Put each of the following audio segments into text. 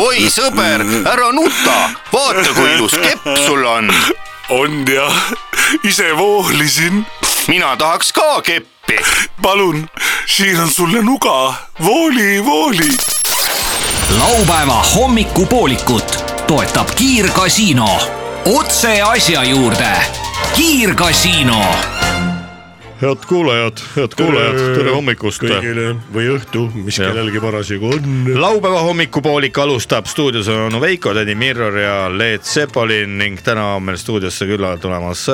oi sõber , ära nuta , vaata kui ilus kepp sul on . on jah , ise voolisin . mina tahaks ka keppi . palun , siin on sulle nuga , vooli , vooli laupäeva hommikupoolikut toetab Kiirgasiino . otse asja juurde . kiirgasiino head kuulajad , head kuulajad , tere hommikust . kõigile või õhtu , mis Jah. kellelgi parasjagu on . laupäeva hommikupoolik alustab , stuudios on onu Veiko , tädi Mirror ja Leet Sepolin ning täna on meil stuudiosse külla tulemas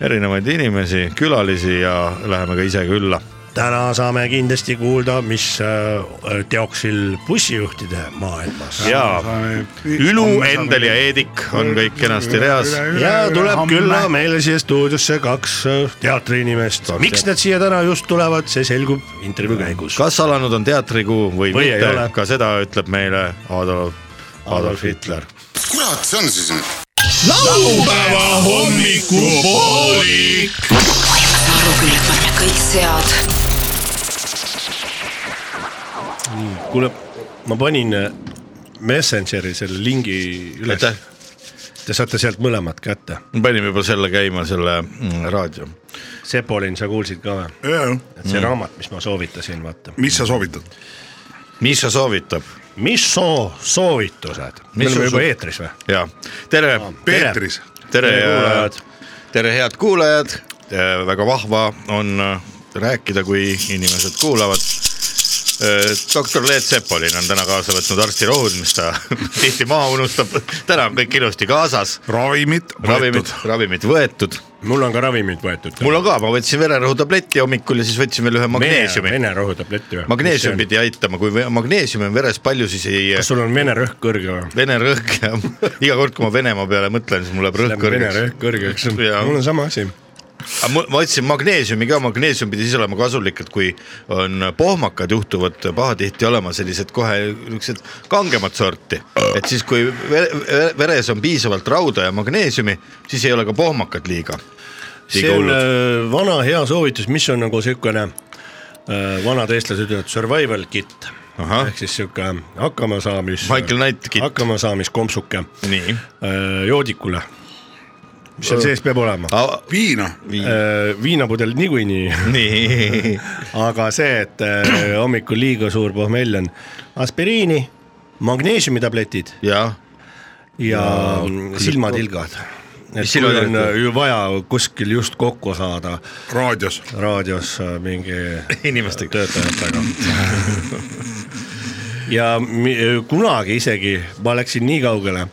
erinevaid inimesi , külalisi ja läheme ka ise külla . täna saame kindlasti kuulda , mis äh, teoksil bussijuhtide maailmas . ja Ülu , Endel ja Eedik on kõik kenasti reas . ja tuleb külla meile siia stuudiosse kaks äh, teatriinimest . miks nad siia täna just tulevad , see selgub intervjuu käigus . kas alanud on teatrikuu või, Või või ei ole. mitte , ka seda ütleb meile Adolf , Adolf Hitler . kurat see on siis nüüd ? panna kõik sead kuule , ma panin äh, Messengeri selle lingi üles aitäh ,. Te saate sealt mõlemad kätte . me panime juba selle käima , selle mm, raadio . Sepolin , sa kuulsid ka või ? et Mm. see raamat , mis ma soovitasin , vaata . mis sa soovitad ? mis sa soovitab ? mis soo- , soovitused ? me Mis oleme su- juba eetris või ? ja tere , Peetris , tere ja kuulajad. tere , head kuulajad . väga vahva on äh, rääkida , kui inimesed kuulavad . doktor Leet Sepolin on täna kaasa võtnud arstirohud , mis ta tihti maha unustab . täna on kõik ilusti kaasas , ravimid , ravimid , ravimid võetud . mul on ka ravimid võetud . mul on ka , ma võtsin vererõhutabletti hommikul ja siis võtsin veel ühe magneesiumi . Vene rohutabletti või ? magneesium . pidi aitama , kui ve- magneesiumi on veres palju , siis ei . kas sul on vene rõhk kõrge või ? Vene rõhk ja iga kord , kui ma Venemaa peale mõtlen , siis mul läheb rõhk Läheb vene kõrgeks rõhk . kõrgeks . Jaa. mul on sama asi . aga ma ma võtsin magneesiumi ka , magneesium pidi siis olema kasulik , et kui on pohmakad juhtuvad pahatihti olema sellised kohe niisugused kangemat sorti . et siis , kui ve- ve- veres on piisavalt rauda ja magneesiumi , siis ei ole ka pohmakad liiga . see on äh, vana hea soovitus , mis on nagu siukene , vanad eestlased ütlevad survival kit . Ahah. ehk siis siuke hakkamasaamis . Michael Knight kit. hakkamasaamiskompsuke nii , äh, joodikule . mis seal sees peab olema ? viina , Äh, viinapudel niikuinii nii , aga see , et äh, hommikul liiga suur pohmell on aspiriini , magneesiumitabletid jah , ja mm, silmatilgad . et kui silmatilgad? on äh, ju vaja kuskil just kokku saada raadios , Ah, raadios äh, mingi inimestega . töötajatega . ja mi- kunagi isegi ma läksin nii kaugele ,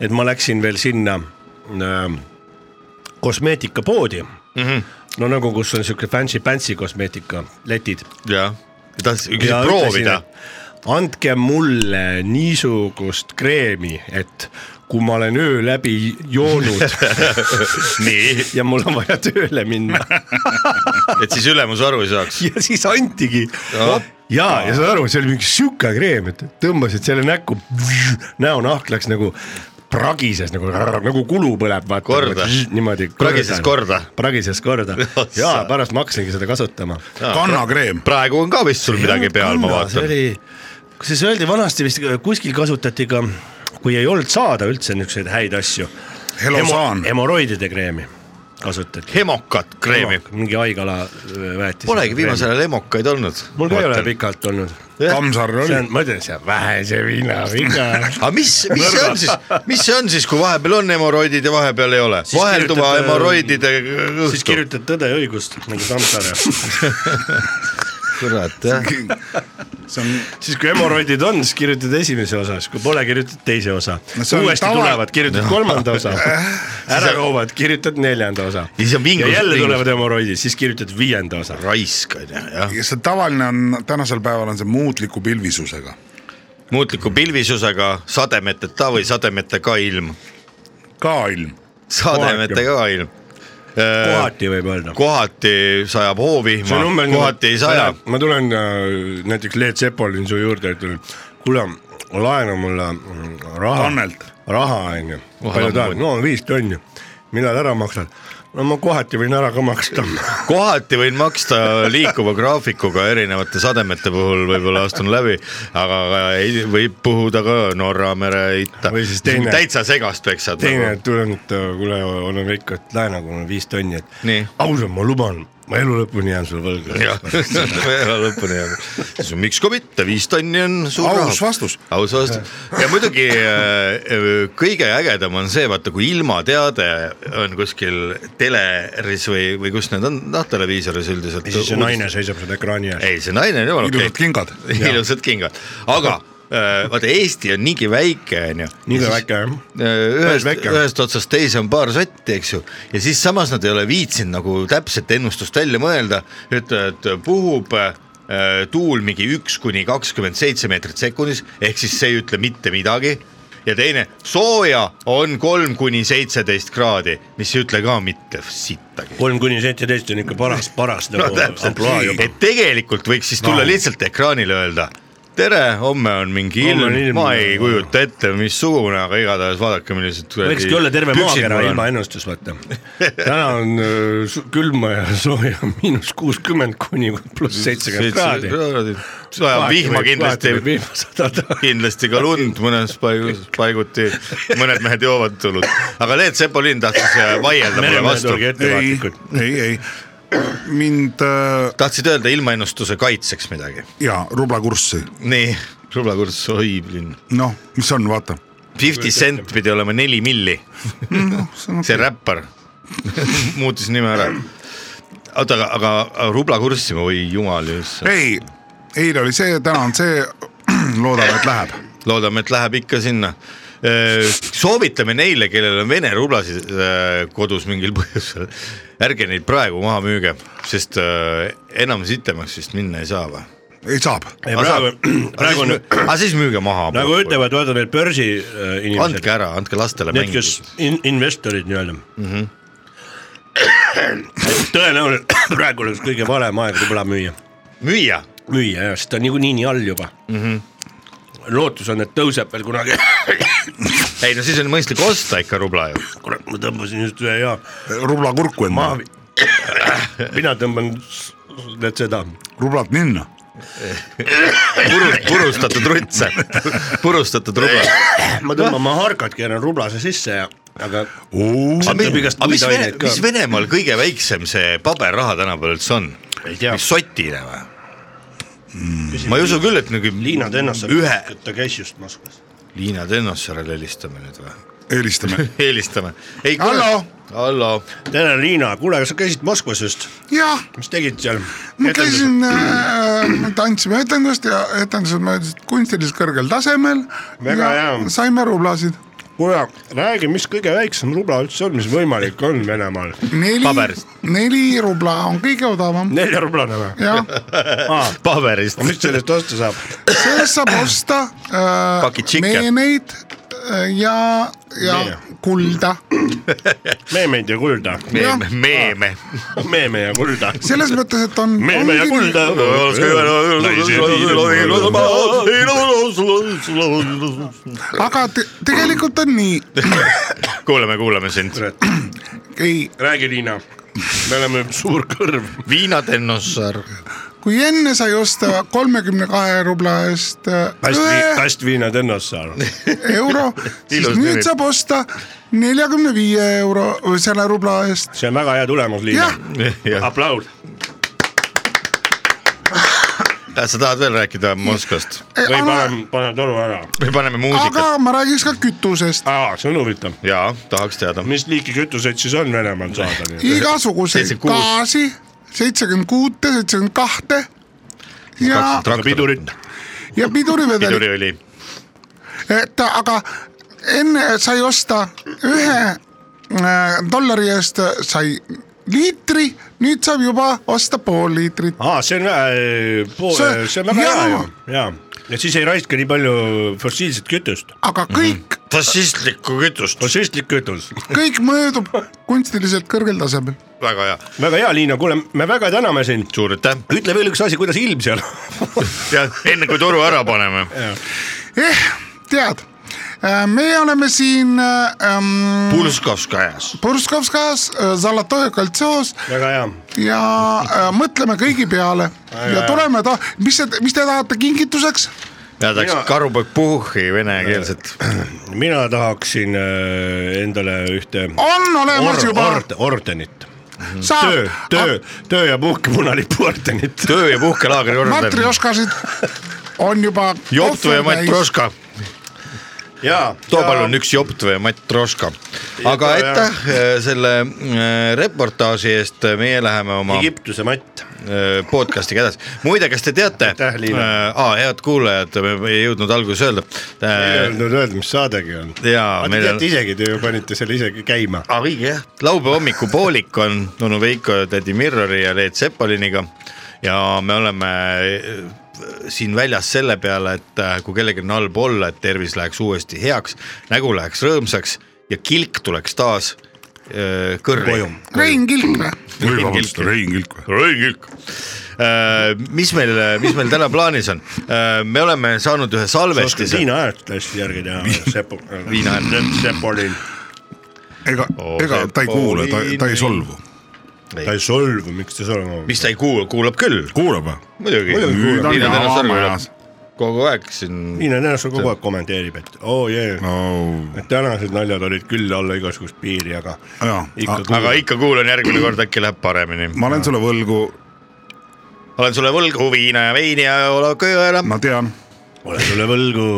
et ma läksin veel sinna äh, kosmeetikapoodi mm . -hmm. no nagu , kus on siuke fancy-pantsy kosmeetika , letid jah , tahtsin Ja küsida proovida , ütlesin, et andke mulle niisugust kreemi , et kui ma olen öö läbi joonud nii , ja mul on vaja tööle minna et siis ülemus aru ei saaks . ja siis antigi . Ja. ja , ja saad aru , see oli mingi sihuke kreem , et tõmbasid selle näkku , näonahk läks nagu pragises nagu , nagu kulu põleb , vaata . Korda. niimoodi . Pragises korda. pragises korda Ossa. ja pärast ma hakkasingi seda kasutama kannakreem , praegu on ka vist sul midagi peal , ma see vaatan . oli , kusjuures öeldi vanasti vist kuskil kasutati ka , kui ei olnud saada üldse niisuguseid häid asju . Helosaan. hemoroidide kreemi kasutati . hemokat kreemi . mingi haigala öö, väetis . Polegi viimasel . Eh? ajal emokaid olnud . mul ka ei ole pikalt olnud . Tammsaare see oli , on , ma ütlen , see on vähese viina viga . aga Ah, mis , mis see on siis , mis see on siis , kui vahepeal on hemoroidid ja vahepeal ei ole ? vahelduva kirjutad, äh, hemoroidide siis õhtu , kirjutad Tõde ja õigust nagu Tammsaare . kurat jah . see on , siis kui hemoroidid on , siis kirjutad esimese osa , siis kui pole , kirjutad teise osa No see on uuesti tava- tulevad , kirjutad kolmanda osa . ära joovad , kirjutad neljanda osa . Siis on vingus- ja jälle vingus. tulevad hemoroidid , siis kirjutad viienda osa . raisk on ju , jah . see tavaline on , tänasel päeval on see muutliku pilvisusega , muutliku pilvisusega , sademeteta või sademetega ilm . ka ilm , sademetega ilm . kohati võib öelda . Äh, kohati sajab hoovihma , kohati ei saja . ma tulen äh, näiteks Leet Sepolin su juurde , ütlen , kuule , laena mulle mm, raha . Annelt. raha onju , Oh, palju ammu. tahad , no viis tonni , millal ära maksad ? no ma kohati võin ära ka maksta . kohati võin maksta liikuva graafikuga erinevate sademete puhul võib-olla astun läbi , aga aga ei, võib puhuda ka Norra mere itta . Või siis teine- täitsa segast nagu. peksad . teine tuleb , et äh, kuule , olen rikkad laenaga , mul on viis tonni , Nii. et ausalt , ma luban , ma elu lõpuni jään sulle jah , võlgu . lõpuni jah . siis on, miks ka mitte , viis tonni on suur Aus vastus. aus vastus ja muidugi äh, kõige ägedam on see , vaata kui ilmateade on kuskil teleris või , või kus need on , noh televiisoris üldiselt . ja siis see naine seisab seal ekraani ees . ei , see naine on jumala ilusad kingad . ilusad kingad , aga äh, vaata , Eesti on niigi väike , onju . nii kui väike jah . ühest , väike. ühest otsast teise on paar sotti , eks ju , ja siis samas nad ei ole viitsinud nagu täpset ennustust välja mõelda , ütlevad , puhub äh, tuul mingi üks kuni kakskümmend seitse meetrit sekundis , ehk siis see ei ütle mitte midagi . ja teine , sooja on kolm kuni seitseteist kraadi , mis ei ütle ka mitte sittagi . kolm kuni seitseteist on ikka paras , paras no nagu täpselt ampluaa , juba . Nagu. et tegelikult võiks siis tulla Vau. lihtsalt ekraanile öelda tere , homme on mingi Homme ilm on , ilm. ma ei kujuta ette , missugune , aga igatahes vaadake , millised . võikski olla terve maakera ilmaennustus , vaata . täna on öö, su- külma ja sooja miinus kuuskümmend kuni pluss seitsekümmend kraadi . sajab vihma kindlasti , vihma sadada . kindlasti ka lund mõnes paigus , paiguti , mõned mehed joovad tulnud , aga Leet Sepolin tahtis äh, vaielda mulle meremehed vastu olge ei ettevaatlikud ., ei , ei , mind äh, tahtsid öelda ilmaennustuse kaitseks midagi , ja rublakurssi , nii , rublakurss , oi linn , noh , mis on , vaata . Fifty Cent pidi olema neli milli see räppar muutis nime ära . oota , aga , aga aga rubla kurssi ma või jumal just . ei , eile oli see , täna on see , loodame , et läheb . loodame , et läheb ikka sinna . soovitame neile , kellel on vene rublasid öö, kodus mingil põhjusel , ärge neid praegu maha müüge , sest öö, enam sitemaks vist minna ei saa või ? ei saab , praegu , praegu on , aga siis müüge maha . nagu . ütlevad , vaata need börsi öö, andke inimesed , ära , andke lastele need , mängida kes . in, investorid nii-öelda mm . Mhm. -hmm. tõenäoliselt praegu oleks kõige valem aeg võib-olla müüa , müüa , müüa jah , sest ta on niikuinii nii all juba mm . Mhm. -hmm. lootus on , et tõuseb veel kunagi ei no siis on mõistlik osta ikka rubla ju . kurat , ma tõmbasin just ühe hea rublakurku endale , maavi . mina tõmban s- need seda , rublad ninna . purust , purustatud rutse , purustatud rubla ma tõmban oma harkad , keeran rublase sisse ja , aga aga Sattub mi- igast aga mis, puidaineid Vene, ka. mis Venemaal kõige väiksem see paberraha tänapäeval üldse on ? Ei tea. mis sotine või ? ma ei usu küll , et nagu Liina Tennasse , ühe , ta käis just Moskvas . Liina Tennossaarele helistame nüüd või ? eelistame . helistame . Hallo? . hallo , tere , Liina , kuule , kas sa käisid Moskvas just , jah , mis tegid seal ? ma käisin , äh, tantsime etendust ja etendused möödusid kunstiliselt kõrgel tasemel . Väga hea. saime rublasid . kuule , räägi , mis kõige väiksem rubla üldse on , mis võimalik on Venemaal ? neli Paberist. , neli rubla on kõige odavam , neljarublane või ? jah , paberist . mis sellest osta saab ? sellest saab osta Paki äh, tšikke. meeneid äh, ja , ja Meie. kulda meemeid ja kulda . jah. meeme , meeme . meeme ja kulda . selles mõttes , et on . meeme ja kulda . aga te, tegelikult on nii , kuulame , kuulame sind . ei , räägi , Liina , me oleme suur kõrv Liina Tennossaar . kui enne sai osta kolmekümne kahe rubla eest äh, kast vi- , ühe kast viina Tennossaar . euro , siis Ilus nimi. nüüd saab osta neljakümne viie euro või selle rubla eest , see on väga hea tulemus , Liina jah ., aplaus . Äh, sa tahad veel rääkida Moskvast ? või paneme , pane toru ära . me paneme muusikat Ah, aga . ma räägiks ka kütusest , aa , see on huvitav . jaa , tahaks teada . mis liiki kütuseid siis on Venemaal saada nii-öelda ? igasuguseid 76. gaasi , seitsekümmend kuute , seitsekümmend kahte ja , pidurit . ja pidurivedelik . piduriõli . et aga enne sai osta ühe äh, dollari eest sai liitri , nüüd saab juba osta pool liitrit . aa , see on väga , See- äh, see on väga hea ju jaa. , jaa . ja siis ei raiska nii palju fossiilset kütust . aga Mhm. kõik , fašistlikku kütust . fossiilslik kütus . kõik möödub kunstiliselt kõrgel tasemel . väga hea , väga hea , Liina , kuule , me väga täname sind . suur aitäh ütle veel üks asi , kuidas ilm seal on . ja enne kui toru ära paneme , eh , tead , äh, me oleme siin ähm, Pulskovskajas . Purskovskas , Zalatoja koltsioos väga hea . ja äh, mõtleme kõigi peale ja tuleme ta , mis te , mis te tahate kingituseks ? mina tahaks Mina- karupoeg puhhi venekeelset . mina tahaksin äh, endale ühte on olemas or- juba , ord- ordenit , töö saab ,, töö , töö ja puhke punalipu ordenit . töö ja puhkelaagri orden . matrjoškasid on juba . Joptve ja Matroška , ja too palun . üks Joptve ja Matroška . aga Ja- aitäh eh, selle eh, reportaaži eest , meie läheme oma Egiptuse matt . eh, podcast'iga edasi . muide , kas te teate , Aitäh, Liina. head kuulajad , me ei jõudnud alguses öelda . ei öelnud öelda , mis saadegi on . jaa , aga te meil on teate isegi , te ju panite selle isegi käima . ah, . õige jah . laupäeva hommikupoolik on onu Veiko ja tädi Mirrori ja Leet Sepaliniga ja me oleme äh, siin väljas selle peale , et äh, kui kellelgi on halb olla , et tervis läheks uuesti heaks , nägu läheks rõõmsaks ja kilk tuleks taas äh, kõrri . Rein Kilk või ? või vabandust , Rein Kilk või ? Rein Kilk . Eh, mis meil , mis meil täna plaanis on ? me oleme saanud ühe sa oskad salvestise . viina häält hästi järgi teha , Sepo . Viina häält. . Sepolin , ega Oh, , ega ta ei kuule , ta , ta Pauliini. ei solvu . ta ei solvu , miks ta solvab . mis ta ei kuula , kuulab küll . kuulab või ? muidugi . kuulab. Liina Liina Tänas Sõrm Vaamajas. üle- kogu aeg siin Liina Tõnisson kogu aeg kommenteerib , et oo oh, jee yeah. , no et tänased naljad olid küll alla igasugust piiri , aga jaa , ikka aga kuulab . ikka kuulan järgmine kord , äkki läheb paremini . ma olen sulle võlgu , olen sulle võlgu viina ja veini ja ole kööela . ma tean . olen sulle võlgu .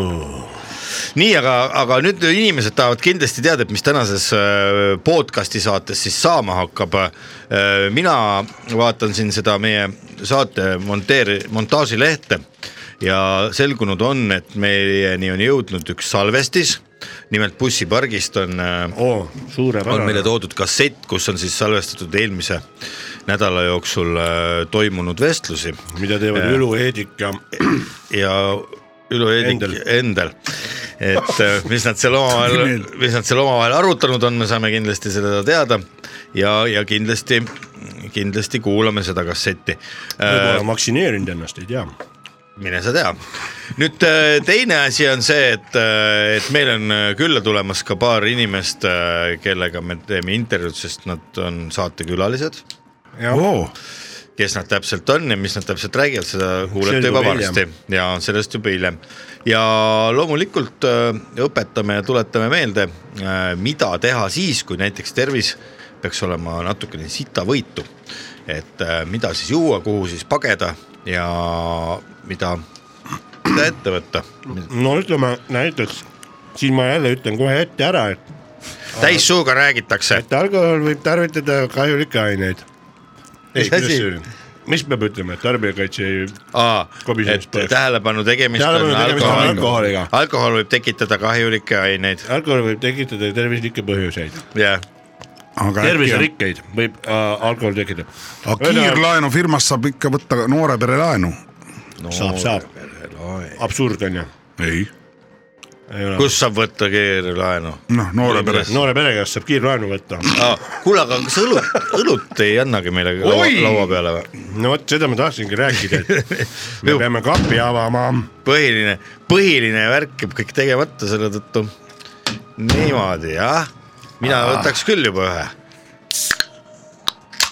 nii , aga , aga nüüd inimesed tahavad kindlasti teada , et mis tänases äh, podcast'i saates siis saama hakkab . mina vaatan siin seda meie saate monteeri- , montaažilehte ja selgunud on , et meieni on jõudnud üks salvestis . nimelt bussipargist on äh, oo , on meile suurepärane . toodud kassett , kus on siis salvestatud eelmise nädala jooksul äh, toimunud vestlusi mida teevad Jaa. Ülu , Heedik ja ja Ülo Eedik Endel. Endel , et äh, mis nad seal omavahel , mis nad seal omavahel arutanud on , me saame kindlasti seda teada ja , ja kindlasti , kindlasti kuulame seda kasseti . Äh. võib-olla vaktsineerinud ennast , ei tea . mine sa tea . nüüd äh, teine asi on see , et , et meil on äh, külla tulemas ka paar inimest , kellega me teeme intervjuud , sest nad on saatekülalised . kes nad täpselt on ja mis nad täpselt räägivad , seda kuulete Selgub juba hiljem. varsti ja sellest juba hiljem . ja loomulikult äh, õpetame ja tuletame meelde , mida teha siis , kui näiteks tervis peaks olema natukene sitavõitu . et äh, mida siis juua , kuhu siis pageda ja mida , mida ette võtta . no ütleme näiteks , siin ma jälle ütlen kohe ette ära , et , täissuuga räägitakse , et alkohol võib tarvitada kahjulikke aineid . ei , Mis asi? kuidas see oli ? mis peab ütlema , et tarbijakaitse ei , et Komisjonis põles. tähelepanu tegemist on Tähelepanu tegemist on alkoholiga alkoholiga. , alkohol võib tekitada kahjulikke aineid , alkohol võib tekitada tervislikke põhjuseid , jah aga äkki , terviserikkeid võib äh, alkohol tekitada . aga kiirlaenufirmast saab ikka võtta noore pere laenu . no, saab , saab , absurd on ju . ei , kus saab võtta kiirlaenu Mm. noh , noore pere . noore pere käest saab kiirlaenu võtta . ah, ? kuule , aga kas õlut , õlut ei annagi meile laua, Oi! laua peale või ? no vot , seda ma tahtsingi rääkida , et me peame kapi avama . põhiline , põhiline värk jääb kõik tegemata selle tõttu . niimoodi jah , mina Aa. võtaks küll juba ühe .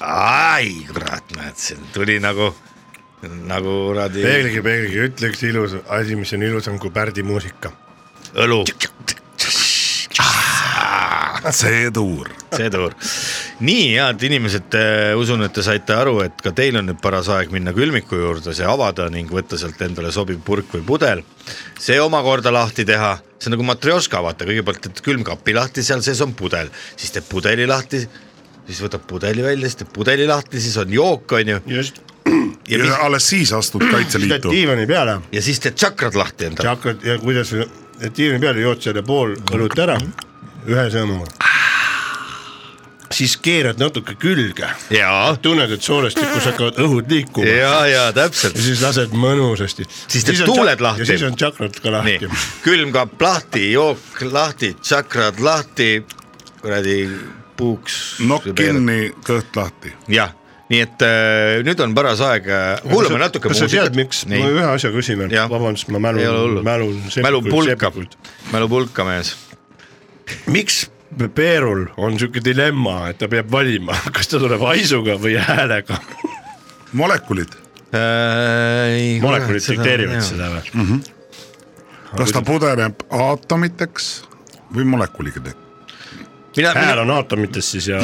ai kurat , näed , siin tuli nagu , nagu kuradi peegligi , peegligi , ütle üks ilus asi , mis on ilusam kui pärdimuusika . õlu seedur . sedur . nii head inimesed , usun , et te saite aru , et ka teil on nüüd paras aeg minna külmiku juurde , see avada ning võtta sealt endale sobiv purk või pudel . see omakorda lahti teha , see on nagu matrjoška , vaata , kõigepealt teed külmkapi lahti , seal sees on pudel , siis teed pudeli lahti , siis võtad pudeli välja , siis teed pudeli lahti , siis on jook , onju . just , ja mis , ja alles siis astud teed Kaitseliitu . diivani peale ja siis teed tšakrad lahti endale ja . hakkad ja kuidas , et diivani peal jood selle pool õlut ära ühe sõõmuga . siis keerad natuke külge , ja , tunned , et soolestikus hakkavad õhud liikuma ja, ja , ja täpselt ja . siis lased mõnusasti . Siis teed tuuled lahti. ja siis on tšakrad ka nii lahti ., külmkapp lahti , jook lahti , tšakrad lahti , kuradi puuks . nokk . kinni , kõht lahti . jah , nii et äh, nüüd on paras aeg , kuulame natuke kas sa tead , miks ? ma Nii. ühe asja küsin veel Jah. , vabandust , ma Ei ole mälun hullu. , mälun . mälu pulka , mälu pulka mees . miks Peerul on siuke dilemma , et ta peab valima , kas ta tuleb haisuga või häälega ? molekulid , Äh, molekulid dikteerivad . seda või ? kas ta pudeneb aatomiteks või molekulideks ? mina , hääl on aatomites siis ja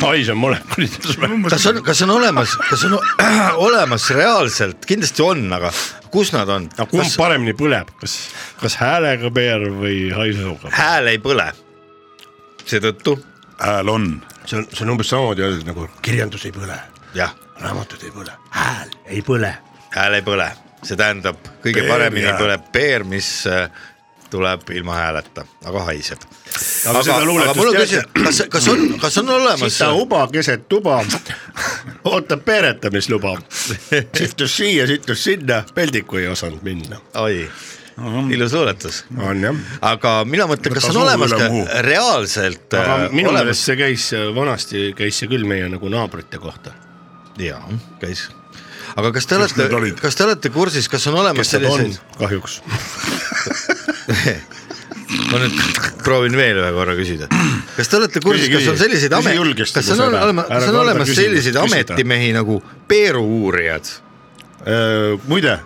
hais on molekulides või ? kas on , kas on olemas , kas on olemas reaalselt , kindlasti on , aga kus nad on ? aga kumb paremini põleb , kas , kas häälega peer või haisuga ? hääl ei põle . seetõttu hääl on , see on , see on umbes samamoodi öeldud nagu kirjandus ei põle , jah , raamatud ei põle , hääl ei põle . hääl ei põle , see tähendab kõige Peer peer, paremini ja- jah. põleb peer , mis äh, tuleb ilma hääleta , aga haiseb . Aga seda luuletust mul on teate? küsimus , kas , kas on , kas on olemas sita uba keset tuba , ootab peeretamisluba , sihtus siia , sihtus sinna , peldiku ei osanud minna . oi , Mhm. ilus luuletus , on jah , aga mina mõtlen , kas Võta on suu olemas üle ka muhu. reaalselt aga äh, minu olemas meelest see käis äh, vanasti , käis see küll meie nagu naabrite kohta . jaa , käis . aga kas te need olete olid? , kas te olete kursis , kas on olemas kes nad on selliseid ,, kahjuks . ma nüüd proovin veel ühe korra küsida . kas te olete kursis , Küsi, kas on küsi. selliseid Küsi ame- , julgesti, kas kui on sa ole- oled. olemas , Ära kas on karda olemas küsida, selliseid küsida. ametimehi nagu peeru-uurijad ? Äh, muide ,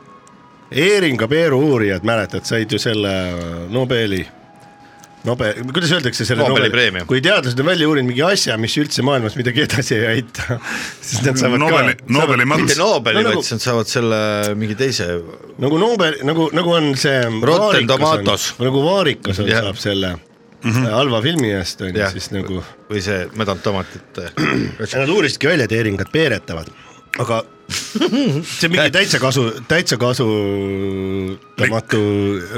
Eeringa peeru-uurijad , mäletad , said ju selle äh, Nobeli , Nobel , kuidas öeldakse selle Nobeli preemia. kui teadlased on välja uurinud mingi asja , mis üldse maailmas midagi edasi ei aita , siis nad saavad Nobeli , ka Nobeli mitte mats , Nobeli No no, , nagu- vaid siis nad saavad selle mingi teise , nagu Nobel , nagu , nagu on see vaarikas on- Tomatoes. Mhm. nagu Vaarikas on , Jah. saab selle mm -hmm. halva filmi eest on ju Jah. siis nagu . või see mädanud tomatit . Nad uurisidki välja , et heeringad peeretavad , aga see on mingi täitsa kasu , täitsa kasutamatu ,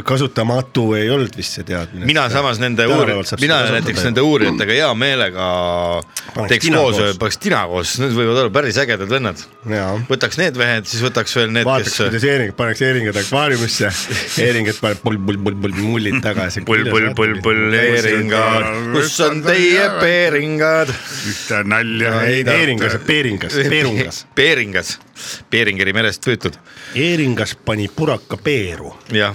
kasutamatu ei olnud vist see teadmine . mina samas nende uuri- Tänapäeval saab , mina seda näiteks kasutada. nende uurijatega hea meelega Paneks teeks tina koos koos. , paneks tina koos , need võivad olla päris ägedad vennad . jaa , võtaks need mehed , siis võtaks veel need , vaataks , kes kuidas heeringad , paneks heeringad akvaariumisse , heeringad paneb pull-pull-pull-pull mullid tagasi . pull , pull , pull , pull , heeringad , kus on teie peeringad ? ühte nalja ei heeringas , tehta . peeringas , peeringas , peeringas , Peeringeri merest püütud , heeringas pani puraka peeru jah .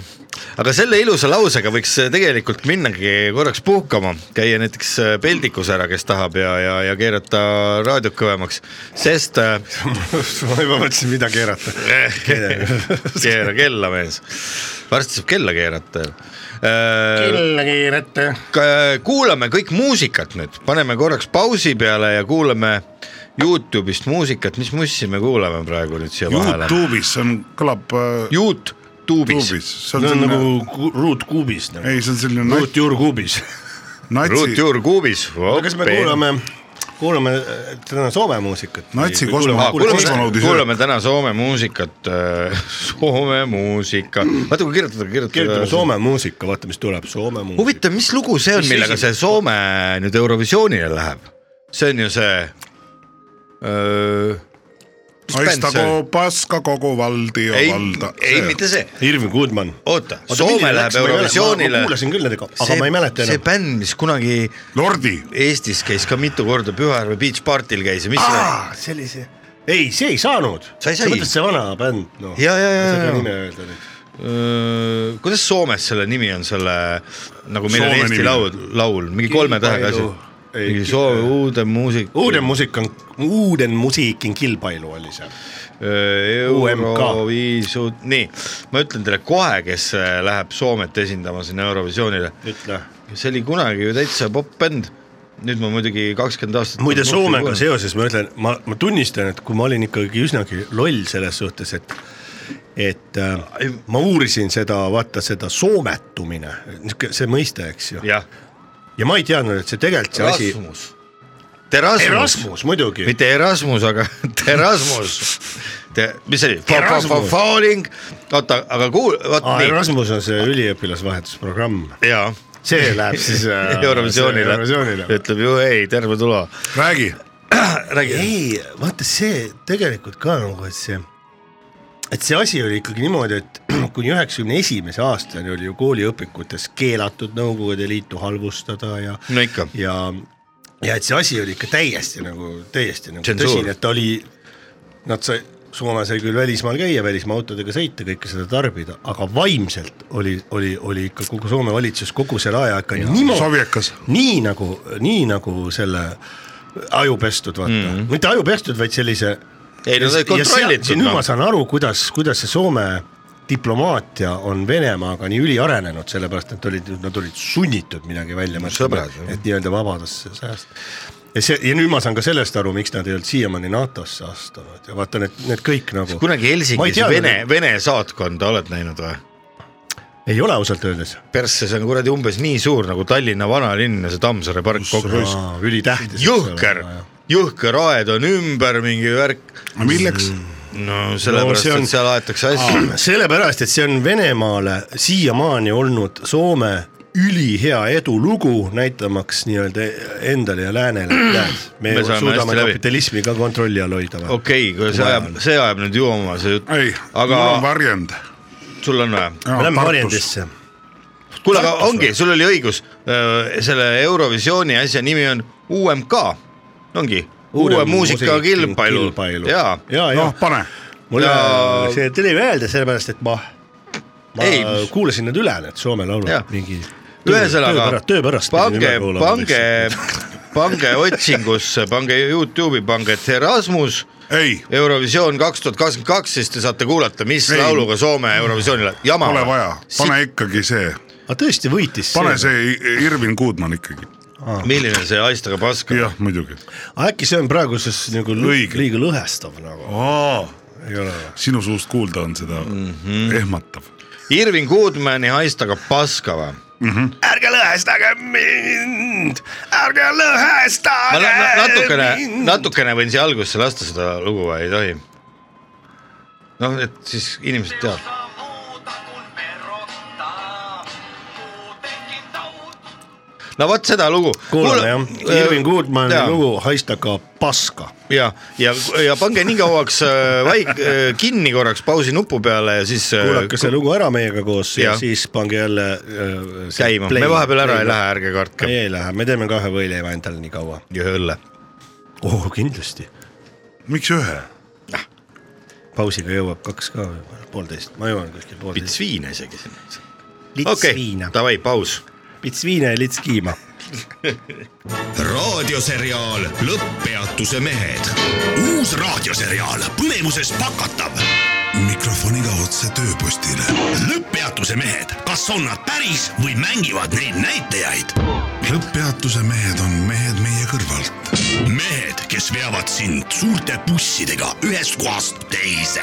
aga selle ilusa lausega võiks äh, tegelikult minnagi korraks puhkama , käia näiteks peldikus ära , kes tahab ja , ja , ja keerata raadiot kõvemaks , sest äh, ma juba mõtlesin , mida keerata . keera kella , mees . varsti saab kella keerata ju Äh, kella keerata . k- kuulame kõik muusikat nüüd , paneme korraks pausi peale ja kuulame Youtube'ist muusikat , mis mussi me kuulame praegu nüüd siia vahele ? Youtube'is on , kõlab äh, Youtube'is , Youtube'is , see on see on selline , nagu ruutkuubis nagu. , ei , see on selline nat- ruutjuurkuubis . natsi , ruutjuurkuubis . kas me kuulame , kuulame äh, täna Soome muusikat ? Natsi kosmo- Ah, kuulame, kosmonaudi kuulame täna Soome muusikat , Soome muusika , vaata kui kirjutada , kirjutame kirjutada . Soome muusika , vaata , mis tuleb , Soome muusika . huvitav , mis lugu see on , Mis millega esimene- see Soome nüüd Eurovisioonile läheb ? see on ju see äh, öö... . haistagu paska kogu vald ja ei valda ,. ei mitte see , Irving Goodman . oota , Soome läheb Eurovisioonile . ma kuulasin küll nendega , aga ma ei mäleta see enam . bänd , mis kunagi Lordi , Eestis käis ka mitu korda Pühajärve Beach Party'l käis ja mis see oli ? aa , sellise , ei , see ei saanud . Sa ei sai. mõtled see vana bänd , noh . Ja, ja, ja, ja, ja. nime öelda nüüd . Öö, kuidas Soomes selle nimi on , selle nagu meil on Soome Eesti nimi. laul , laul , mingi kolme tähega asi Kilpailu- . ei, mingi ki- Soome uude muusika . uuden musiikan , uuden musiikin kilpailu oli seal . UMK. Euroviisu , nii , ma ütlen teile kohe , kes äh, läheb Soomet esindama sinna Eurovisioonile . ütle . see oli kunagi ju täitsa popp-bänd , nüüd ma muidugi kakskümmend aastat . muide , Soomega . seoses ma ütlen , ma , ma tunnistan , et kui ma olin ikkagi üsnagi loll selles suhtes , et et äh, ma uurisin seda , vaata seda soometumine , niisugune see mõiste , eks ju , jah , ja ma ei teadnud , et see tegelikult see asi , Erasmus . Terasmus , Erasmus muidugi , mitte Erasmus , aga Terasmus . Te, mis see oli ? Erasmus. Falling , oota , aga kuul- , vot ah, nii Erasmus on see üliõpilasvahetusprogramm , jaa , see läheb siis äh, Eurovisioonile Eurovisioonile. , ütleb ju ei , terve tulo . räägi , räägi , ei , vaata see tegelikult ka nagu , et see , et see asi oli ikkagi niimoodi , et kuni üheksakümne esimese aastani oli ju kooliõpikutes keelatud Nõukogude Liitu halvustada ja no ikka , ja ja et see asi oli ikka täiesti nagu , täiesti nagu Tsensuur. tõsine , et ta oli , nad sai , Soome sai küll välismaal käia , välismaa autodega sõita , kõike seda tarbida , aga vaimselt oli , oli , oli ikka kogu Soome valitsus kogu selle aja ikka niimoodi sovjekas. , nii nagu , nii nagu selle ajupestud , vaata mm , -hmm. mitte ajupestud , vaid sellise . Ei, nad olid kontrollitud, nüüd noh. ma saan aru , kuidas , kuidas see Soome diplomaatia on Venemaaga nii üliarenenud , sellepärast et olid , nad olid sunnitud midagi välja mõtlema Sõbrad, , jah. et nii-öelda vabadusse säästa . ja see ja nüüd ma saan ka sellest aru , miks nad ei olnud siiamaani NATO-sse astunud ja vaata need , need kõik nagu . kunagi Helsingis Vene , Vene saatkonda oled näinud või ? ei ole ausalt öeldes . persse , see on kuradi umbes nii suur nagu Tallinna vanalinn ja see Tammsaare park kokku . ülitähtis . jõhker , jõhker aed on ümber mingi värk . milleks ? no sellepärast no, , see on- on... et seal aetakse asju . sellepärast , et see on Venemaale siiamaani olnud Soome ülihea edulugu , näitamaks nii-öelda endale ja läänele , et me, Me me saame suudame hästi läbi. kapitalismi ka kontrolli all hoida . okei okay, , see ajab , see ajab nüüd jooma see jutt . ei , mul aga on varjend . sul on vaja ? me lähme . varjendisse . kuule , aga ongi , sul oli õigus . selle Eurovisiooni asja nimi on UMK , ongi . uue muusikakilpailu ja ja , ja , ja noh , pane . mul Ja- ja... see tuli meelde sellepärast , et ma , ma Ei, ei, mis- kuulasin need üle , need Soome Jah. laulud , mingi . ühesõnaga töö pärast . pange , pange , pange otsingusse , pange Youtube'i , pange Erasmus ei , Eurovisioon kaks tuhat kakskümmend kaks , siis te saate kuulata , mis Ei. Ei. lauluga Soome Eurovisioonile , jama . pole vaja , pane ikkagi see , aga tõesti võitis pane see . see Irvin Kuudmann ikkagi . milline see Aistaga paska jah , muidugi . äkki see on praeguses nagu lõ- Õige. liiga lõhestav nagu , ei ole või ? sinu suust kuulda on seda mm Mhm. -hmm. ehmatav . Irving Goodmani Aistaga paska või ? ärge lõhestage mind , ärge ma lõhestage na na natukene ,. natukene võin siia algusesse lasta seda lugu või ei tohi ? noh , et siis inimesed teavad . no vot seda lugu . kuulame jah , äh, Irving Goodmani lugu Haistaka paska . ja , ja , ja pange nii kauaks äh, vaik- , kinni korraks pausi nupu peale ja siis . äh, kuulake see lugu ära meiega koos ja, ja Jah. siis pange jälle äh, see käima , play- me vahepeal ära ei play- lähe , ärge kartke ei , ei lähe , me teeme kahe võileiva endale nii kaua . ja õlle . oh , kindlasti . miks ühe ? pausiga jõuab kaks ka võib-olla , poolteist , ma jõuan kuskil poolteist . pits viina isegi sinna . okei Litsviina , davai , paus . pits viina ja lits kiima . raadioseriaal Lõpppeatuse mehed . uus raadioseriaal põnevuses pakatav . mikrofoniga otse tööpostile . lõpppeatuse mehed , kas on nad päris või mängivad neid näitajaid ? lõpppeatuse mehed on mehed meie kõrvalt . mehed , kes veavad sind suurte bussidega ühest kohast teise .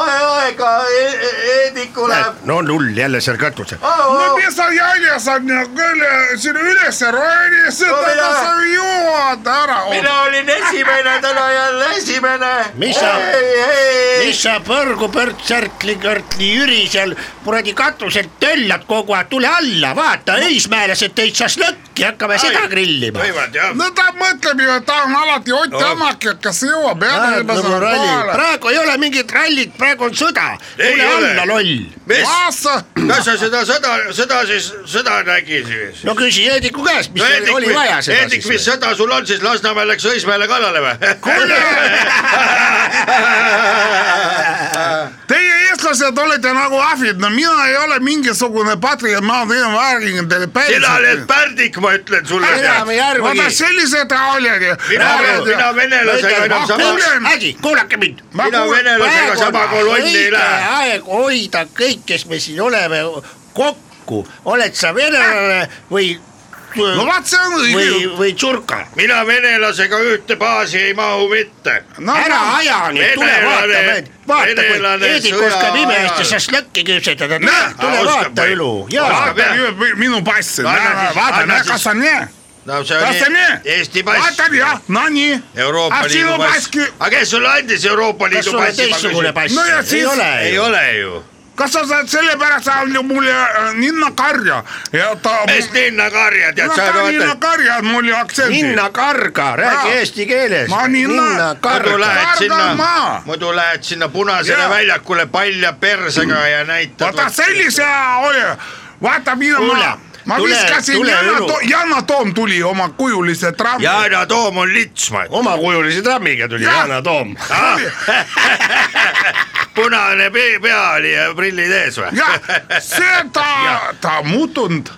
ae , aega Eedikule . no null jälle seal katusel . no mis sa jäljes on ja küll sinu üles roni , seda mina- sa jõuad ära . mina olin esimene , täna jälle esimene . Mis sa- ei , ei , mis sa põrgu pörtsärtli , körtli , jüri seal kuradi katuselt töllad kogu aeg , tule alla , vaata , õismäelased tõid šašlõkki , hakkame seda grillima . no ta mõtleb ju , et ta on alati Ott Tänak , et kas jõuab jälle juba nagu selle ralli. kohale . praegu ei ole mingit rallit , praegu on sõda , tule ole. alla , loll . mis , Lasse , kas sa seda sõda , sõda siis , sõda nägid siis ? no küsi Eediku käest , mis no, oli vaja seda Eedik , mis siis . sõda sul on siis , Lasnamäe läks Õismäele kallale Ah, või ? teie eestlased olete nagu ahvid , no mina ei ole mingisugune patrioot , ma teen vääringi teile sina oled päriselt . pärdik , ma ütlen sulle . elame vaata järgi . sellised olid . mina , mina venelasega enam sama , asi , kuulake mind . mina venelasega sama kolonni ei lähe . aeg hoida kõik , kes me siin oleme , kokku , oled sa venelane või , no vaat see on või õige ., või tsurka mina venelasega ühte baasi ei mahu mitte . No, ära no. aja nüüd , tule Venelane- vaata , vaata kui venelane Heidik sõja oskab ime ajal. eest ja šašlõkki küpsetada , tule Näe, tule oskab vaata või? Ülu , jaa . vaata minu passi , Anna vaata siis- , vaata anna , kas siis- sa näed , no see Lase on nii. Eesti pass , vaatan jah , no nii . Euroopa Ah, Liidu sinu pass maski- . aga kes sulle andis Euroopa kas Liidu sul on passi ? teistsugune pass ? No ja ei siis- ole ei ju . ole ju , kas sa saad sellepärast ajada mulle äh, ninnakarja ja ta . mis ninnakarja tead no sa ta vaata , ninnakarja on mul ju aktsendi . ninnakarga , räägi Jaa. eesti keeles . Ma ninna- muidu ninnakarga . lähed sinna Kardamaa. , muidu lähed sinna Punasele Jaa. väljakule palja persega ja näitad . vaata sellise ole , vaata mina Kuule, ma , ma tule- viskasin tule Yana õlu. to, , Yana Toom tuli oma kujulise trammi . Yana Toom on lits , ma ütlen , omakujulise trammiga tuli Jah. Yana Toom . Ah. punane pe- pea oli ja prillid ees või ? jah , see ta , ta muutunud ,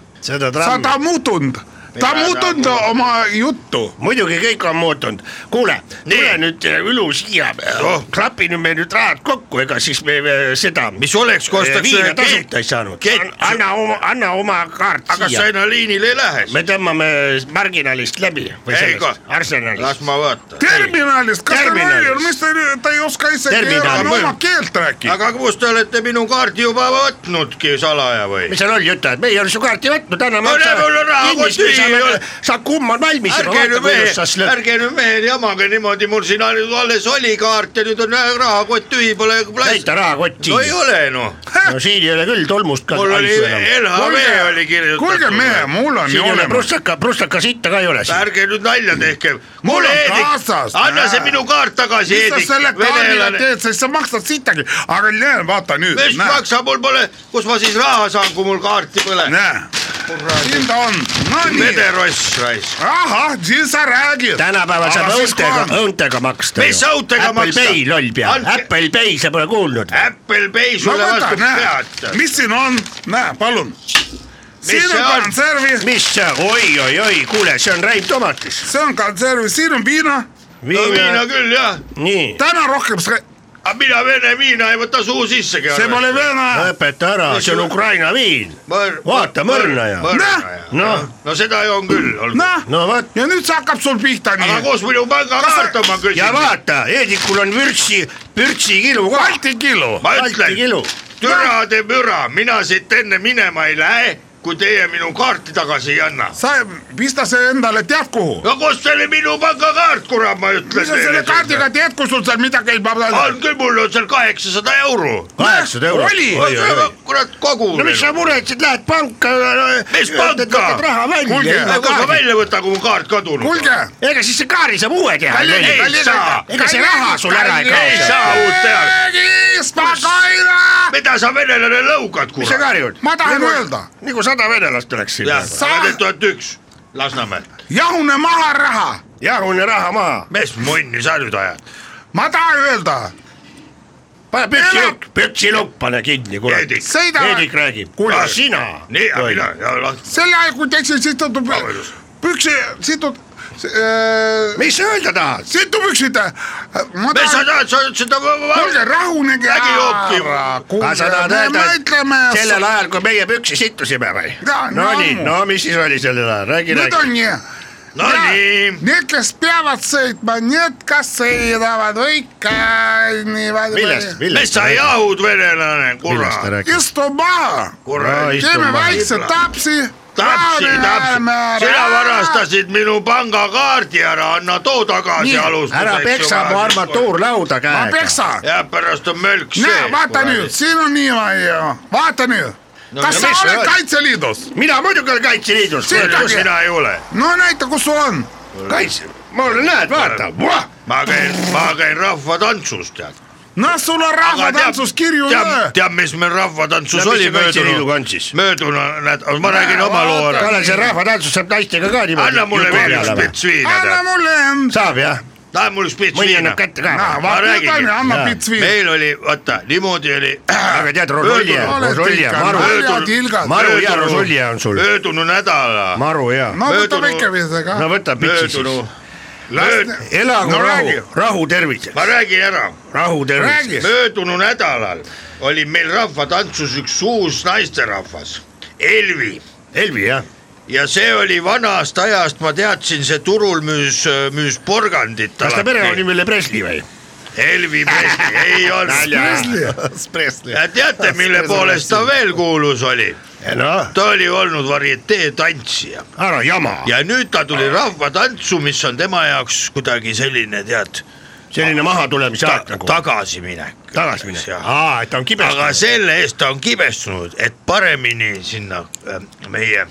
sa seda trammi ta . muutunud , ta Mina muutunud tahan- oma juttu . muidugi kõik on muutunud , kuule , tule nüüd äh, Ülu siia Oh. oh. , klapi nüüd meil nüüd rahad kokku , ega siis me äh, seda . mis oleks , kui ostaks viina tasuta ei saanud kett- , anna , anna oma kaart aga sa siia . enam liinile ei lähe siis ? me tõmbame marginaalist läbi või Ei, sellest , ka- las Arsenalist . ma vaatan . terminalist , kas teil Terminalist. nalja on , mis te , ta ei oska isegi Terminal. enam oma keelt rääkida . aga kus te olete minu kaardi juba võtnudki salaja või mis ? seal oli juttu , et me ei ole su kaarti võtnud , anname No näe, mul on raha kotti ei ole. sa kumm on valmis , ärge vaata nüüd kuidas sa mehed , slõpp . ärge nüüd mehed jamage niimoodi , mul siin ainult alles oli kaart ja nüüd on äh, rahakott tühi , pole näita plast- . rahakott no ei siia . ole noh , no siin ei ole küll tolmust ka mul oli aisu enam . LHV oli kirjutatud . kuulge mehe , mul on siin ju ei ole olemas . prustaka , prustaka sitta ka ei ole siin . ärge nüüd nalja tehke , mul Mul on Heedik kaasas, , anna see näe. minu kaart tagasi , mis sa Heedik , selle kaardiga venelane . teed , sest sa maksad sittagi , aga näe , vaata nüüd , mis näe , maksab , mul pole , kus ma siis raha saan , kui mul kaarti pole ? näe , siin ta on , no nii , vedeross raisk . ahah , siis sa räägid . tänapäeval saab õuntega , õuntega maksta . Mis õuntega maksta? Apple Pay , loll pea Andke- , Apple Pay , sa pole kuulnud . Apple Pay no sulle võta , vastu näe pead ., mis siin on , näe , palun . siin see on on? konservi , mis see , oi-oi-oi , kuule , see on räim tomatis . see on konservi , siin on viina , no viina küll jah , nii , täna rohkem , see aga mina vene viina ei võta suu sissegi . pole vene , lõpeta ära , see on Ukraina viin . vaata, mõrnaja. noh Noh. , no seda on küll olnud . noh , no vot , ja nüüd see hakkab sul pihta aga nii . kus minu pangakaart on , ma ja küsin . vaata , Heedikul on vürtsi , vürtsikilu ka . Balti kilu , ma Balti ütlen kilu. , türa te müra , mina siit enne minema ei lähe , kui teie minu kaarti tagasi ei anna . sa pista see endale tead kuhu . no kus oli minu pangakaart , kurat , ma ütlen mis sa selle kaardiga . teed , kui sul seal midagi ei pane ? on küll , mul on seal kaheksasada euro . kaheksasada eurot . oli. kurat , kogu . no mis sa muretsed , lähed panka . Mis panka? raha Kuulge, välja . Ah. aga kus ma välja võtan , kui mu kaart kadunud on ? kuulge , ega siis see kaari saab uue teha . Kalli- Kalli- ei saa , ega see raha sul ära ei ei kao . saa uut teha , spagaina , mida sa venelane lõugad , mis sa kurat . karjud ? ma tahan öelda , nagu sada venelast oleks siin . jah , Sa- sa oled tuhat üks Lasnamäelt . jahune maha raha , jagune raha maha . mis munni sa nüüd ajad ? ma tahan öelda , pane pütsilukk , pütsilukk pane kinni , kurat . Heedik. Sõida- Heedik räägib . Kuule. kuule , sina . nii , mina , ja las- sel ajal , kui teksti situtud Vabandust. , püksi situtud , öö, situpüksid , mis sa öelda tahad ? ma mis sa tahan , tahad , sa oled seda . kuulge , rahunege Äkki jookib? ära , kas sa kuulge , tahad me öelda , mõtleme et , sellel ajal , kui meie püksi sittusime või Jaa, ? no nii nii , ammu. no mis siis oli sellel ajal , räägi , nüüd on räägi . nii . niin. Nonii , Need , kes peavad sõitma , need , kes sõidavad õige millest , niimoodi . millest ? mis sa ? jahud , venelane , millest ta kurat , räägib ? istu maha , kurat No, . istu teeme maha. väikse tapsi . tapsi , tapsi , sina varastasid minu pangakaardi ära , anna too tagasi alustuseks . ära peksa mu . armatuurlauda ma käega . peksan . ja pärast on mölk näe , see . vaata nüüd , siin on niimoodi ju , vaata nüüd no, . kas no sa mis oled sa- Kaitseliidus ? mina muidugi olen Kaitseliidus . Siin kus sina ei ole ? no näita , kus sul on . kaitse , mul näed , vaata . ma käin , ma käin rahvatantsus , tead . no sul on rahvatantsus kirju tead löö ,. tead , mis meil rahvatantsus No mis oli see Kaitseliiduga on möödunud siis? , möödunud nädal , ma räägin oma loo ära . Kalev , see rahvatantsus saab naistega ka niimoodi . anna mulle veel üks pits viina , anna tead . mulle end . saab jah , anna mulle üks pits mõni viina annab . kätte ka . näe , ma vaata nüüd räägin. on ju , anna Jaa. pits viina . meil oli , vaata , niimoodi oli . aga tead , Rosolje , Rosolje , maru , maru hea Rosolje on sul , möödunud nädala , maru hea . no võta möödunud- väikese ka no . võta pitsi siis möödunud ., mööd- , elagu No räägi. rahu , rahu terviseks , ma räägin ära rahu Räägi. terviseks . möödunud nädalal oli meil rahvatantsus üks uus naisterahvas , Elvi Elvi jah , ja see oli vanast ajast , ma teadsin , see turul müüs , müüs porgandit . kas ta perenimi oli Presley või ? Elvi Presley , ei olnud . ja teate , mille poolest ta veel kuulus oli ? noh , ta oli olnud varietee tantsija ära jama , ja nüüd ta tuli rahvatantsu , mis on tema jaoks kuidagi selline , tead , selline mahatulemise ta, aeg nagu , tagasiminek . tagasiminek , aa , et ta on aga kibestunud . selle eest ta on kibestunud , et paremini sinna ähm, meie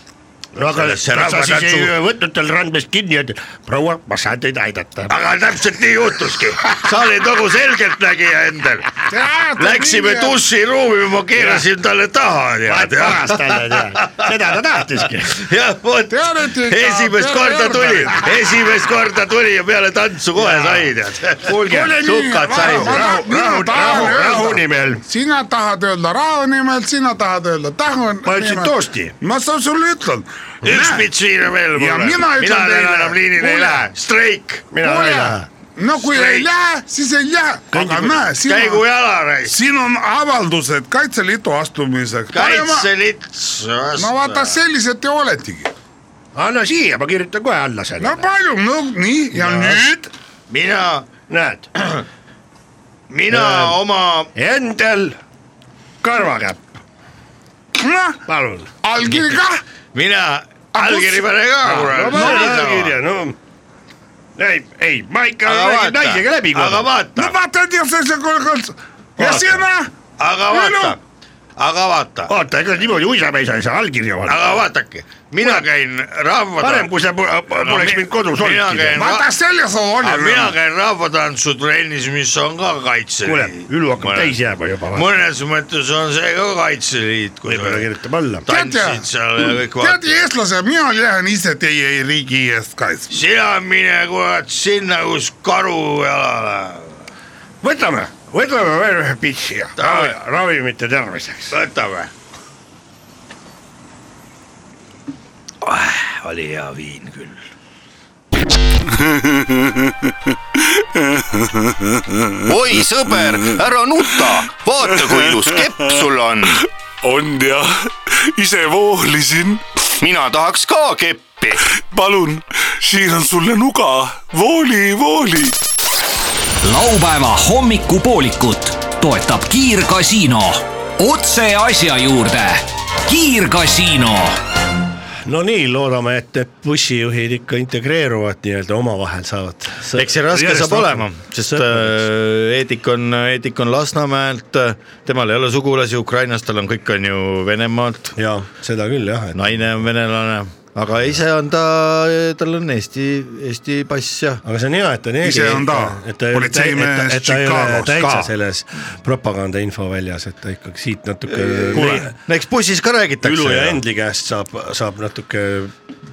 no aga kas sellesse sa siis ei rahvatantsu , võtnud tal randmest kinni , et proua , ma saan teid aidata . aga täpselt nii juhtuski , sa olid nagu selgeltnägija endal . Läksime . duširuumi , ma keerasin talle taha , tead . paras talle , seda ta tahtiski . jah , vot Tean, et ikka esimest peale korda juurde. tuli , esimest korda tuli ja peale tantsu kohe sai tead . kuulge Kuule, nii, , sukad vau, sai . vau. rahu , rahu , rahu , rahu nimel . sina tahad öelda rahu nimel , sina tahad öelda tahu . ma ütlesin . toosti . ma sa- sulle ütlen , üks pits viina veel Ja mulle . mina ütlen mina teile, täna enam liinile ei kuule. lähe , streik . mina ei lähe . no kui Streik. ei lähe , siis ei lähe , aga näe , käigu sina , jala raisk . siin on avaldused Kaitseliidu astumiseks . kaitselits no vaata , sellised te oletegi . anna siia , ma kirjutan kohe alla no selle . palju , no nii ja nüüd mina , näed , mina oma , endel karvakäpp , noh , palun . allkiri kah , mina kus- allkiri pane ka no ma olen allkirja , kurat . no . ei , ei , ma ikka Aga räägin vaata. naisega läbi Aga kohe . vaata. no vaata , et jah , see on , ja Vaata. sina , aga vaata , aga vaata , oota , ega niimoodi uisapäisa ei saa allkirja panna . aga vaadake , mina käin rahva . parem , kui sa po- poleks mind kodus mina käin olnud . vaata selles on aga mina oluline . käin rahvatantsutrennis , mis on ka kuule , kaitseliit . Ülu hakkab täis jääma juba . mõnes mõttes on see ka kaitseliit , kui võib-olla sa kirjutab alla . tantsid seal ja kõik tead , vaatavad . eestlased , mina lähen ise teie riigi eest kaitsma . sina mine kurat sinna , kus karu jalale . võtame , võtame veel ühe pitsi ja Davai. ravi- ravimite terviseks . võtame . oli hea viin küll . oi sõber , ära nuta , vaata kui ilus kepp sul on . on jah , ise voolisin . mina tahaks ka keppi . palun , siiran sulle nuga , vooli , vooli laupäeva hommikupoolikut toetab Kiirgasiino . otse asja juurde . kiirgasiino no nii , loodame , et need bussijuhid ikka integreeruvad nii-öelda omavahel saavad . eks see raske saab olema , sest äh, Eedik on , Eedik on Lasnamäelt , temal ei ole sugulasi Ukrainas , tal on kõik on ju Venemaalt , ja seda küll jah , et noh, naine on venelane , aga ise on ta , tal on Eesti , Eesti pass ja aga see on hea , et ta on ees . Ise on ta politseimees Chicagos täitsa ka. selles propaganda infoväljas , et ta ikkagi siit natuke . kuule , eks bussis ka Ülu ja räägitakse . Endli käest saab , saab natuke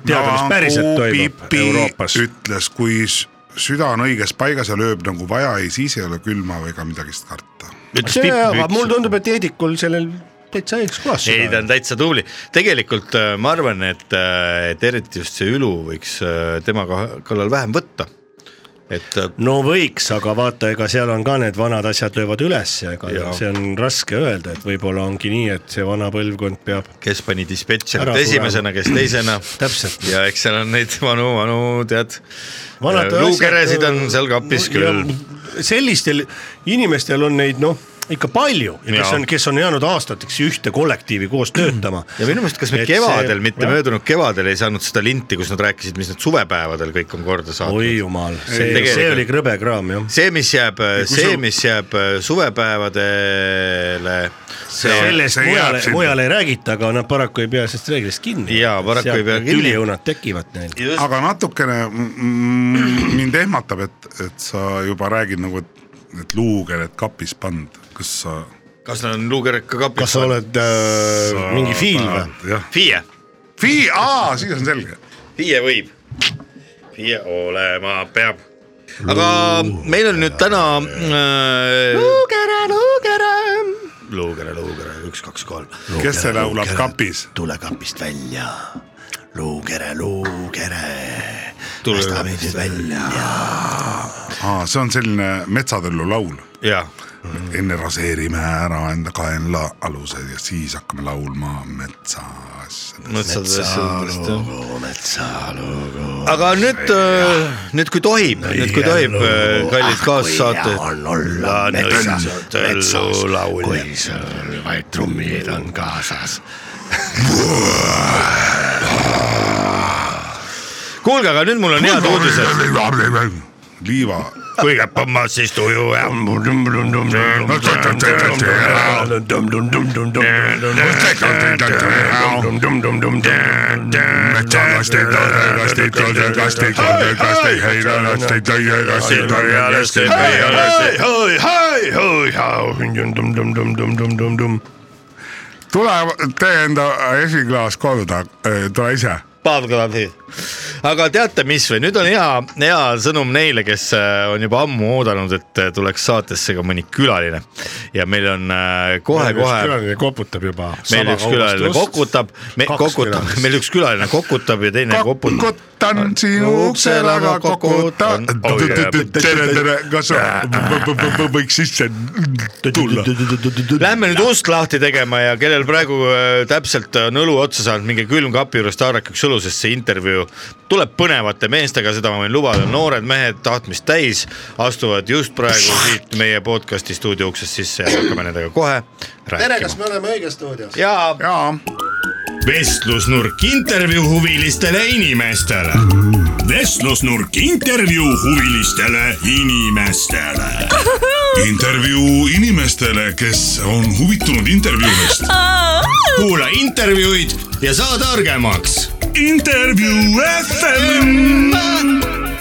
teada , mis päriselt toimub Euroopas . ütles , kui s- süda on õiges paigas ja lööb nagu vaja , ei siis ei ole külma ega midagist karta . see , aga mulle tundub , et Heidikul sellel täitsa õiges kohas . ei , ta on täitsa tubli , tegelikult äh, ma arvan , et , et eriti just see Ülu võiks äh, tema ka- kallal vähem võtta , et äh, no võiks , aga vaata , ega seal on ka need vanad asjad löövad üles ja ega Jaa. see on raske öelda , et võib-olla ongi nii , et see vana põlvkond peab kes pani Ära dispetšerit surema. esimesena , kes teisena . Täpselt. ja eks seal on neid vanu , vanu tead , Vanad äh, asjad- Äh, luukeresid on seal kapis küll . Ja sellistel inimestel on neid noh , ikka palju , kes Jaa. on , kes on jäänud aastateks ühte kollektiivi koos töötama . ja minu meelest , kas me Et see- kevadel , mitte jah. möödunud kevadel ei saanud seda linti , kus nad rääkisid , mis nad suvepäevadel kõik on korda oi saatnud . jumal , see , tegelikult- see oli krõbe kraam jah . see , mis jääb , see , mis jääb äh, suvepäevadele , see sellest see jääb mujal , sinna. mujal ei räägita , aga nad paraku ei pea sellest reeglist kinni . Jaa, paraku ei pea kinni. tüliõunad tekivad neil . aga natukene mm, mm, mind ehmatab , et , et sa juba räägid nagu , et , et luukered kapis pannud , kas sa . kas nad on luukered ka kapis ? kas sa oled äh, mingi fiil või ?? jah , FIE , FI , aa , siis on selge . FIE võib , FIE olema peab . aga meil on nüüd täna äh, . luukere , luukere . luugere , luugere , üks , kaks , kolm . kes see laulab kapis ? tule kapist välja , luukere , luukere , tule , meid välja . aa , see on selline metsatõllu laul . jaa . enne raseerime ära enda kaenla alused ja siis hakkame laulma metsas . metsadest jah metsalugu . aga nüüd , nüüd kui tohib , nüüd kui tohib , kallid Ah, kaassaated . olla metsas , metsas , laulja. kui sul vaid trummid on kaasas . kuulge , aga nüüd mul on head uudised . liiva . kõige põmmas siis tuju ja . tule , tee enda esiklaas korda , tule ise . Paavo kõlab nii . aga teate , mis või nüüd on hea , hea sõnum neile , kes äh, on juba ammu oodanud , et äh, tuleks saatesse ka mõni külaline ja meil on äh, kohe-kohe . külaline koputab juba . meil üks külaline kokutab , kokutab , meil üks külaline kokutab ja teine koputab . kokutan sinu ukse taga , kokutan . tere , tere , kas võiks sisse tulla ? Lähme nüüd ust lahti tegema ja kellel praegu äh, täpselt on õlu otsa saanud , minge külmkapi juurest haarake üks õlu , sest see intervjuu tuleb põnevate meestega , seda ma võin lubada , noored mehed tahtmist täis , astuvad just praegu siit meie podcast'i stuudio uksest sisse ja hakkame nendega kohe rääkima . me oleme õiges stuudios ? jaa . jaa . vestlusnurk intervjuu huvilistele inimestele . vestlusnurk intervjuu huvilistele inimestele . intervjuu inimestele , kes on huvitunud intervjuudest . kuula intervjuud ja saa targemaks . intervjuu FM .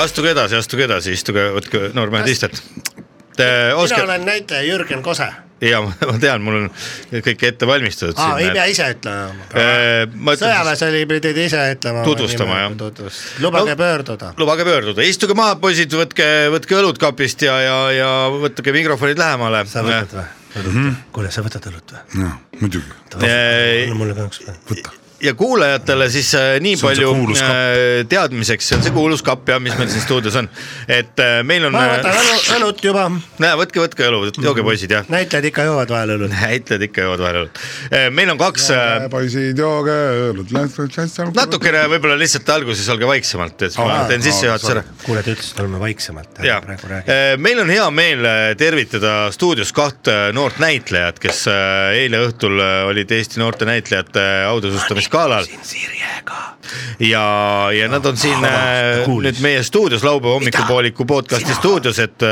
astuge edasi , astuge edasi , istuge , võtke noormehed istet . Te mina oskate , olen näitleja Jürgen Kose . jaa , ma tean , mul on kõik ette valmistatud aa , ei pea siin . ise ütlema . ma ütlen , sõjaväes oli , pidid ise ütlema . Tutvustama, jah. tutvust. . lubage pöörduda . lubage pöörduda , istuge maha , poisid , võtke , võtke õlud kapist ja , ja , ja võtke mikrofonid lähemale . sa võtad või ? Mhm. kuule , sa võtad õlut või ? jah , muidugi . mulle ka üks . Eh, ja kuulajatele siis äh, nii See on see palju kuulus kapp. äh, teadmiseks , see on see kuulus kapp jah , mis meil siin stuudios on , et äh, meil on . ma võtan Mm-hmm. õlu , õlut juba . näe , võtke , võtke õlu , jooge poisid jah . näitlejad ikka joovad vahel õlut . näitlejad ikka joovad vahel õlut . meil on kaks , eh, poisid , jooge õlut , las nad . natukene võib-olla lihtsalt alguses olge vaiksemalt , et ma teen sissejuhatuse ära . kuule , ta ütles , et oleme vaiksemalt . ja , meil on hea meel äh, tervitada stuudios kaht äh, noort näitlejat , kes äh, eile õhtul äh, olid Eesti noorte näitlejate autasustamisgalal . ja , ja nad on Ah, siin äh, nüüd meie stuudios , laupäeva hommikupooliku podcast'i stuudios , et ,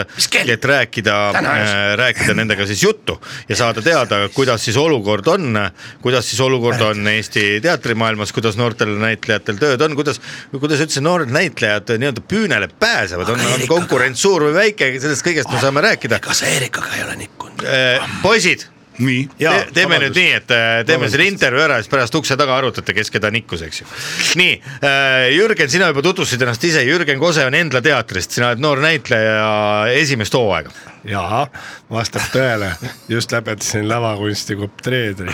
et rääkida , rääkida nendega siis juttu ja saada teada , kuidas siis olukord on , kuidas siis olukord on Eesti teatrimaailmas , kuidas noortel näitlejatel tööd on , kuidas , kuidas üldse noored näitlejad nii-öelda püünele pääsevad , on , on konkurents suur või väike , sellest kõigest me saame rääkida . kas Erikaga ei ole nikkunud ? poisid . nii Jaa, teeme vabandust. nüüd nii , et äh, teeme Vabandust. selle intervjuu ära , siis pärast ukse taga arutate , kes keda nikkus , eks ju . nii , Jürgen , sina juba tutvustasid ennast ise , Jürgen Kose on Endla teatrist , sina oled noor näitleja esimest hooaega . jaa , vastab tõele , just lõpetasin lavakunstikopp Treedri .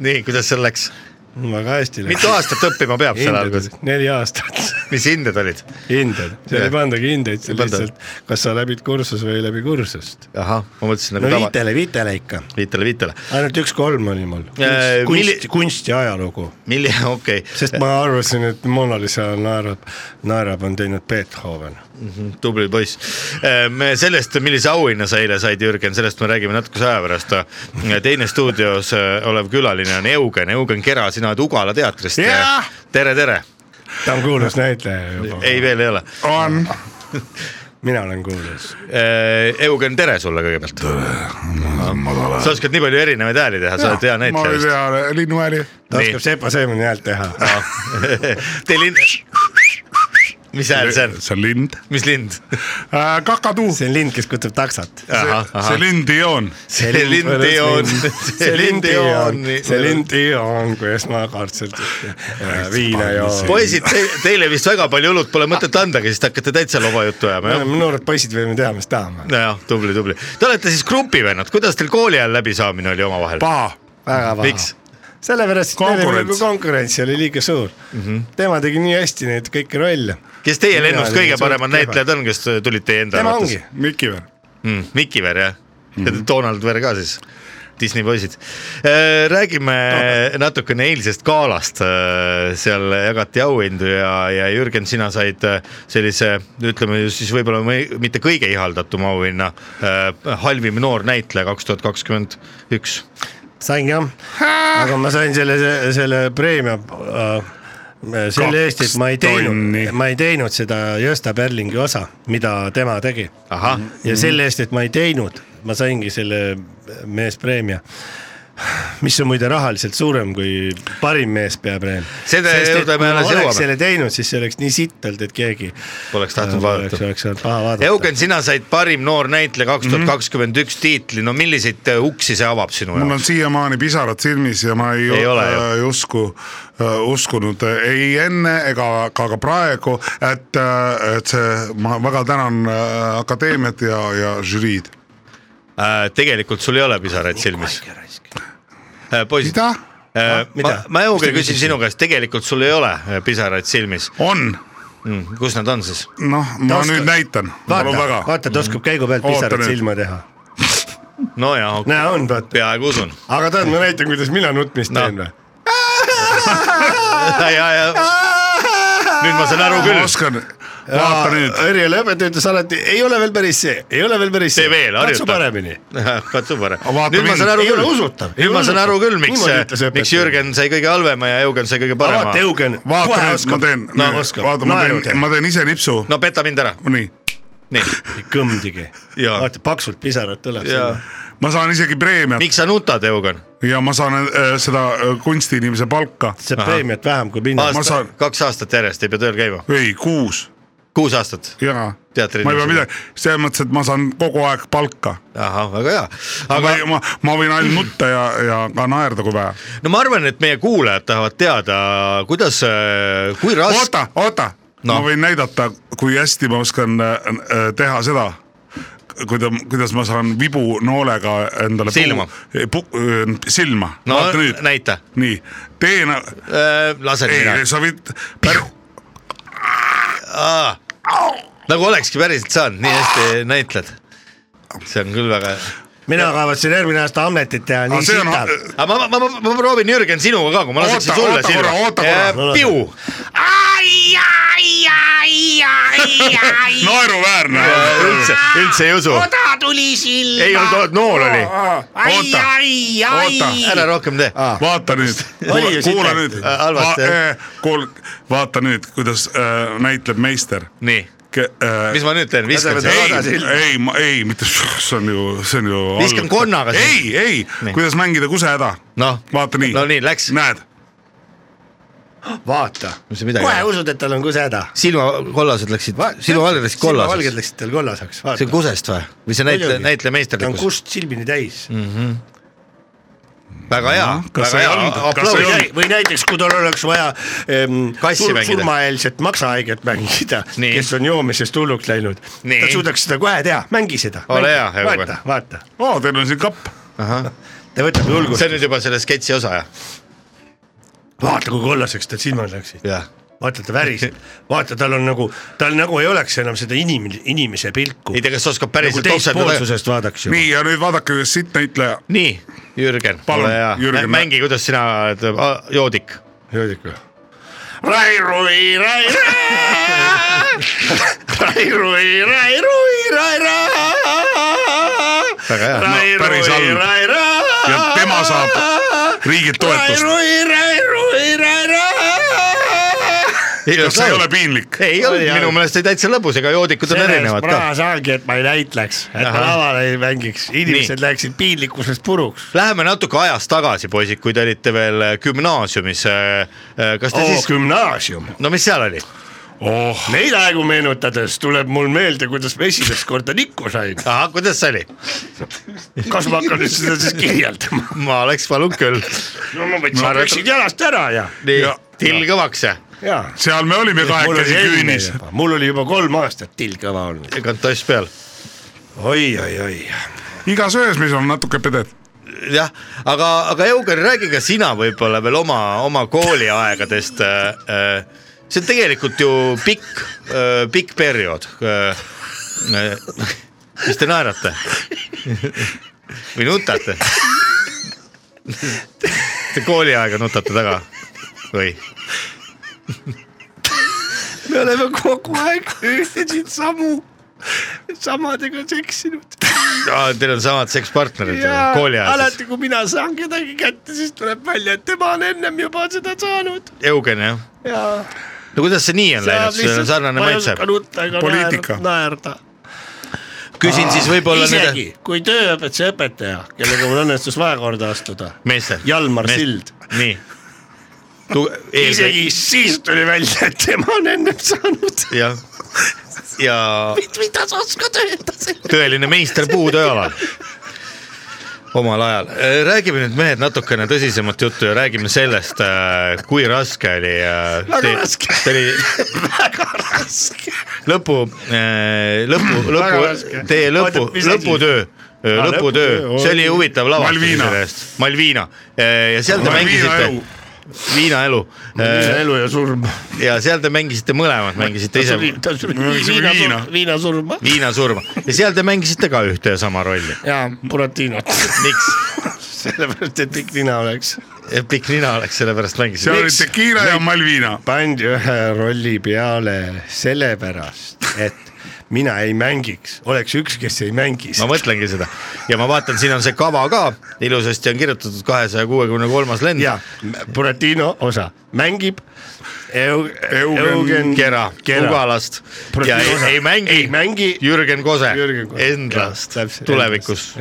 nii , kuidas seal läks ? väga hästi läks . mitu aastat õppima peab seal Hinded- alguses ? neli aastat . mis hinded olid ? hinded , seal Jah. ei pandagi hindeid , see Ei panda. lihtsalt , kas sa läbid kursus või ei läbi kursust . ahah , ma mõtlesin no nagu tava- , viitele , viitele ikka , viitele , viitele . ainult üks kolm oli mul . Äh, kunst milli- , kunst ja ajalugu . Milli- , okei okay. . sest ma arvasin , et Mona Lisa naerab , naerab , on teinud Beethoven . Mhm, tubli poiss . me sellest , millise auhinna sa eile said , Jürgen , sellest me räägime natukese aja pärast . teine stuudios äh, olev külaline on Eugen , Eugen Kera , sina oled Ugala teatrist äh, Jah! . tere , tere . ta on kuulus näitleja juba , ei , veel ei ole . on . mina olen kuulus . Äh, Eugen , tere sulle kõigepealt . sa oskad nii palju erinevaid hääli teha , sa oled hea ma näitleja olin vist . hea linnuhääli . ta oskab Sepa Seemani häält teha . Teil in- , mis hääl see on ? see on lind . mis lind ? kakatuu . see on lind , kes kutsub taksot . Ahah, ahah. Äh, see lind ei on . see lind ei olnud , see lind ei olnud . see lind ei olnud , kui esmakordselt viina joon . poisid , teile vist väga palju õlut pole mõtet andagi , sest hakkate täitsa loba juttu me ajama , jah ? oleme noored poisid , võime teha , mis tahame . nojah , tubli , tubli . Te olete siis grupivennad , kuidas teil kooli ajal läbisaamine oli omavahel ? paha . väga paha miks ? sellepärast , et meil oli Konkurents. nagu konkurents oli liiga suur mm . Mhm. -hmm. tema tegi nii hästi neid kõiki rolle . kes teie lennust kõige paremad näitlejad on , kes tulid teie enda tema ongi arvates ?, Mikiver . Mhm. Mikiver jah ? ja Donald Ver ka siis ? Disney poisid . räägime natukene eilsest galast , seal jagati auhindu ja , ja Jürgen , sina said äh, sellise , ütleme siis võib-olla mõi- mitte kõige ihaldatum auhinna , halvim noor näitleja kaks tuhat kakskümmend üks . sain jah , aga ma sain selle , selle preemia äh, selle eest , et ma ei teinud , ma ei teinud seda Gösta Berlingi osa , mida tema tegi . Mhm. Mhm. ja selle eest , et ma ei teinud , ma saingi selle meespreemia , mis on muide rahaliselt suurem kui parim meespeapreemia . Selle juurde me alles jõuame. oleks selle teinud , siis see oleks nii sittalt , et keegi äh, Poleks tahtnud vaadata. oleks olnud paha vaadata . Eugen , sina said parim noor Mhm. näitleja kaks tuhat kakskümmend üks tiitli , no milliseid äh, uksi see avab sinu mul jaoks ? on siiamaani pisarad silmis ja ma ei, Ei ei, ole ju. äh, ei usku äh, , uskunud äh, ei enne ega ka, ka praegu , et , et see , ma väga tänan äh, akadeemiat ja , ja žüriid . Äh, tegelikult sul ei ole pisaraid silmis . poisid , ma Äh, Mida? , ma Mis Eugen te küsin küsisite? sinu käest , tegelikult sul ei ole äh, pisaraid silmis . on . kus nad on siis ? noh , ma oskab- nüüd näitan , palun vaata väga ,. vaata , ta oskab käigu pealt Oota pisarad nüüd. silma teha . no jaa , näe on , vaata . peaaegu usun . aga tahad , ma näitan , kuidas mina nutmist no. teen või ? ja , ja nüüd ma saan aru küll . oskan , vaata nüüd . Erjele õpetaja ütles alati , ei ole veel päris see , ei ole veel päris see . tee veel , harjuta . katsu paremini .. katsu paremini . vaata nüüd ma mind. saan aru Ei ole küll usutav, , ei nüüd ole ma saan aru usutav. küll , miks Niimoodi ütles , õpetaja. miks Jürgen sai kõige halvema ja Eugen sai kõige parema . vaata , Eugen , vaata nüüd , ma kohe oskab . teen , No oskab. vaata , ma Naeru tee. teen , ma teen ise nipsu . no peta mind ära . nii . nii . kõmdigi . vaata , paksult pisarat tuleb . ma saan isegi preemiat . miks sa nutad , Eugen ? ja ma saan äh, seda äh, kunstiinimese palka . saab preemiat vähem kui mina . ma saan , kaks aastat järjest ei pea tööl käima . ei kuus . kuus aastat . jaa . teatri . ma ei pea midagi , selles mõttes , et ma saan kogu aeg palka . ahah , väga hea . aga ma , ma võin ainult nutta ja , ja ka naerda , kui vaja . no ma arvan , et meie kuulajad tahavad teada , kuidas , kui raske . oota , oota No. no. , ma võin näidata , kui hästi ma oskan äh, äh, teha seda , kuida- , kuidas ma saan vibu noolega endale Silma. puu, pu, äh, silma No, vaata nüüd . näita . nii , tee na- , lasen ei , mina . sa võid , nagu olekski päriselt saanud , nii hästi näitled . see on küll väga hea mina kavatsen järgmine aasta Hamletit teha , Aga nii see on- sitab . äh, aga ma , ma , ma , ma proovin Jürgen sinuga ka , kui ma laseksin Oota, sulle Äh, oota korra, oota korra. piu . naeruväärne . üldse , üldse ei usu . oda tuli silma . ei olnud , olnud nool oli . ai , ai , ai . ära rohkem tee . vaata nüüd , Ah. Oli ju kuula sitem. nüüd Ah, eh, Äh, , halvasti, jah. kuul- , vaata nüüd , kuidas äh, näitleb meister . nii . Äh, mis ma nüüd teen , viskan ei , selle ? ei , ei , mitte , see on ju , see on ju . Viskan konnaga siis. ei , ei Nii. , kuidas mängida kusehäda . noh , vaata nii . no nii , läks . näed , vaata , mis see midagi kohe on . usud , et tal on kusehäda . silmakollased läksid , silmavalged läksid valged kollaseks . läksid tal see kollaseks , on vaata . kusest või ? või see näitleja , Muidugi. näitleja ta on meisterlikkus ? kust silmini täis . Mm. väga hea , kas väga ei hea olnud? , Kas aplaus ei olnud? . või näiteks , kui tal oleks vaja ehm, Kassi sur- mängida. surmaeelset maksahaiget mängida , Nii. kes on joomisest hulluks läinud . Nii. ta suudaks seda kohe teha , mängi seda . Ole hea, Helve. vaata , vaata , oo , teil on siin kapp . ta võtab see julgust , on nüüd juba selle sketši osa jah ? vaata kui kollaseks tal silmad läksid . jah . vaata , ta väriseb , vaata , tal on nagu , tal nagu ei oleks enam seda inimene , inimese pilku ei . tea , kas oskab nagu päriselt topsetada . teispoolsusest vaadaks ju . nii , ja nüüd vaadake , kas siit näitleja , nii , Jürgen , Palun, ole hea , Jürgen, mängi , kuidas sina oled äh, a- joodik jõudlik või ? Rai rui , rai rai , rai rui , rai rui , rai rai , väga hea . rai No, päris rui , halb. rai rai . Ja tema saab riigilt toetust. rai rui , rai rui , rai rai . kas see ei ole piinlik ? ei olnud , Oli, minu oli. meelest oli täitsa lõbus , ega joodikud on erinevad ka . praas ongi , et ma ei näitleks , et ma Ahah. laval ei mängiks , inimesed läksid piinlikkusest puruks . Läheme natuke ajas tagasi , poisid , kui te olite veel äh, gümnaasiumis . kas te oo oh, , siis , gümnaasium . no mis seal oli ? oh , Neid aegu meenutades tuleb mul meelde , kuidas ma esimest korda nikku sain . ahah , kuidas see oli ? kas ma hakkan nüüd seda siis kirjeldama ? ma oleks palunud küll . no ma võtsin püksid jalast ära ja , nii Ja- , till kõvaks ja ja . seal me olime mul oli kahekesi enne küünis . juba , mul oli juba kolm aastat till kõva olnud . kantoss peal . oi , oi , oi . igas öös , mis on natuke pedet . jah , aga , aga Eugen , räägi ka sina võib-olla veel oma , oma kooliaegadest . see on tegelikult ju pikk , pikk periood . äh, mis te naerate ? või nutate ? Te kooliaega nutate taga või ? me oleme kogu aeg ühtesid samu , samadega seksinud . Teil on samad sekspartnerid ja kooliajal , alati , kui mina saan kedagi kätte , siis tuleb välja , et tema on ennem juba seda saanud Eugen jah ? ja . no kuidas see nii on läinud , sul on sarnane maitse ? poliitika . naerda . küsin siis võib-olla isegi nüüd , kui tööõpetuse õpetaja , kellega mul õnnestus vahekorda astuda , meestel . Jalmar Sild . nii . isegi siis tuli välja , et tema on ennem saanud . jah , ja mida sa oskad öelda selle ? tõeline meister puutööalal omal ajal , räägime nüüd mehed natukene tõsisemat juttu ja räägime sellest , kui raske oli . Väga raske. Te oli väga raske . lõpu , lõpu , Väga lõpu raske. , teie lõpu Oota, , mis asi? lõputöö , Aa, lõputöö , lõputöö, see oli oi. huvitav lavastus Malvina. selle eest , Malvina Äh, ja seal te Malvina elu. mängisite . Viina elu . Malvina elu ja surm . ja seal te mängisite mõlemad , mängisite ise ta suri viina , viina surma Viina surma ja seal te mängisite ka ühte ja sama rolli . ja Buratinot . miks ? sellepärast , et pikk nina oleks . Eh, pikk nina oleks , sellepärast mängisin . Seal oli tekiila ja Malvina . pandi ühe rolli peale sellepärast , et mina ei mängiks , oleks üks , kes ei mängiks . ma mõtlengi seda ja ma vaatan , siin on see kava ka , ilusasti on kirjutatud kahesaja kuuekümne kolmas lend . ja , Buratino osa mängib Eu . Eugen Kera, Kera. , Ugalast ja ei, ei mängi, ei mängi Jürgen Kose Endlast , tulevikus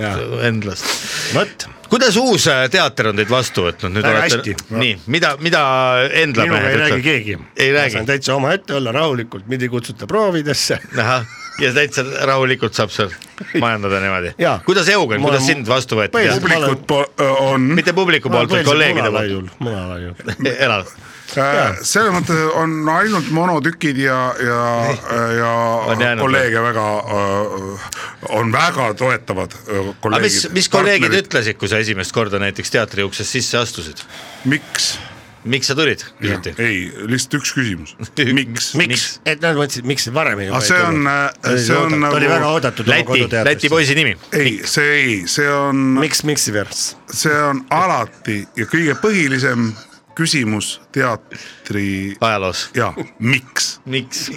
Endlast . vot . kuidas uus äh, teater on teid vastu võtnud nüüd Väga olete hästi. , nii , mida , mida Endla minuga ei mehed räägi keegi . ei ma saan räägi , täitsa omaette olla rahulikult , mind ei kutsuta proovidesse . ahah , ja täitsa rahulikult saab seal majandada niimoodi Jaa. . kuidas Eugen , Ma kuidas olen- sind vastu võeti ? põhiliselt ma olen- on . mitte publiku poolt , vaid kolleegide poolt . munalaiul . elad ? selles mõttes on ainult monotükid ja , ja , ja jäänud kolleege väga , on väga toetavad öö, aga mis kolleegid ., mis kolleegid ütlesid , kui sa esimest korda näiteks teatri uksest sisse astusid ? miks ? miks sa tulid , küsiti ? ei , lihtsalt üks küsimus . miks ? miks ? et nad mõtlesid , miks varem ei aga Ah, see on , see on nagu ta oli väga oodatud oma koduteatrisse. ei , see ei , see on . miks , miks see veerts ? see on alati ja kõige põhilisem küsimus teatri . ajaloos . jaa , miks ? miks ?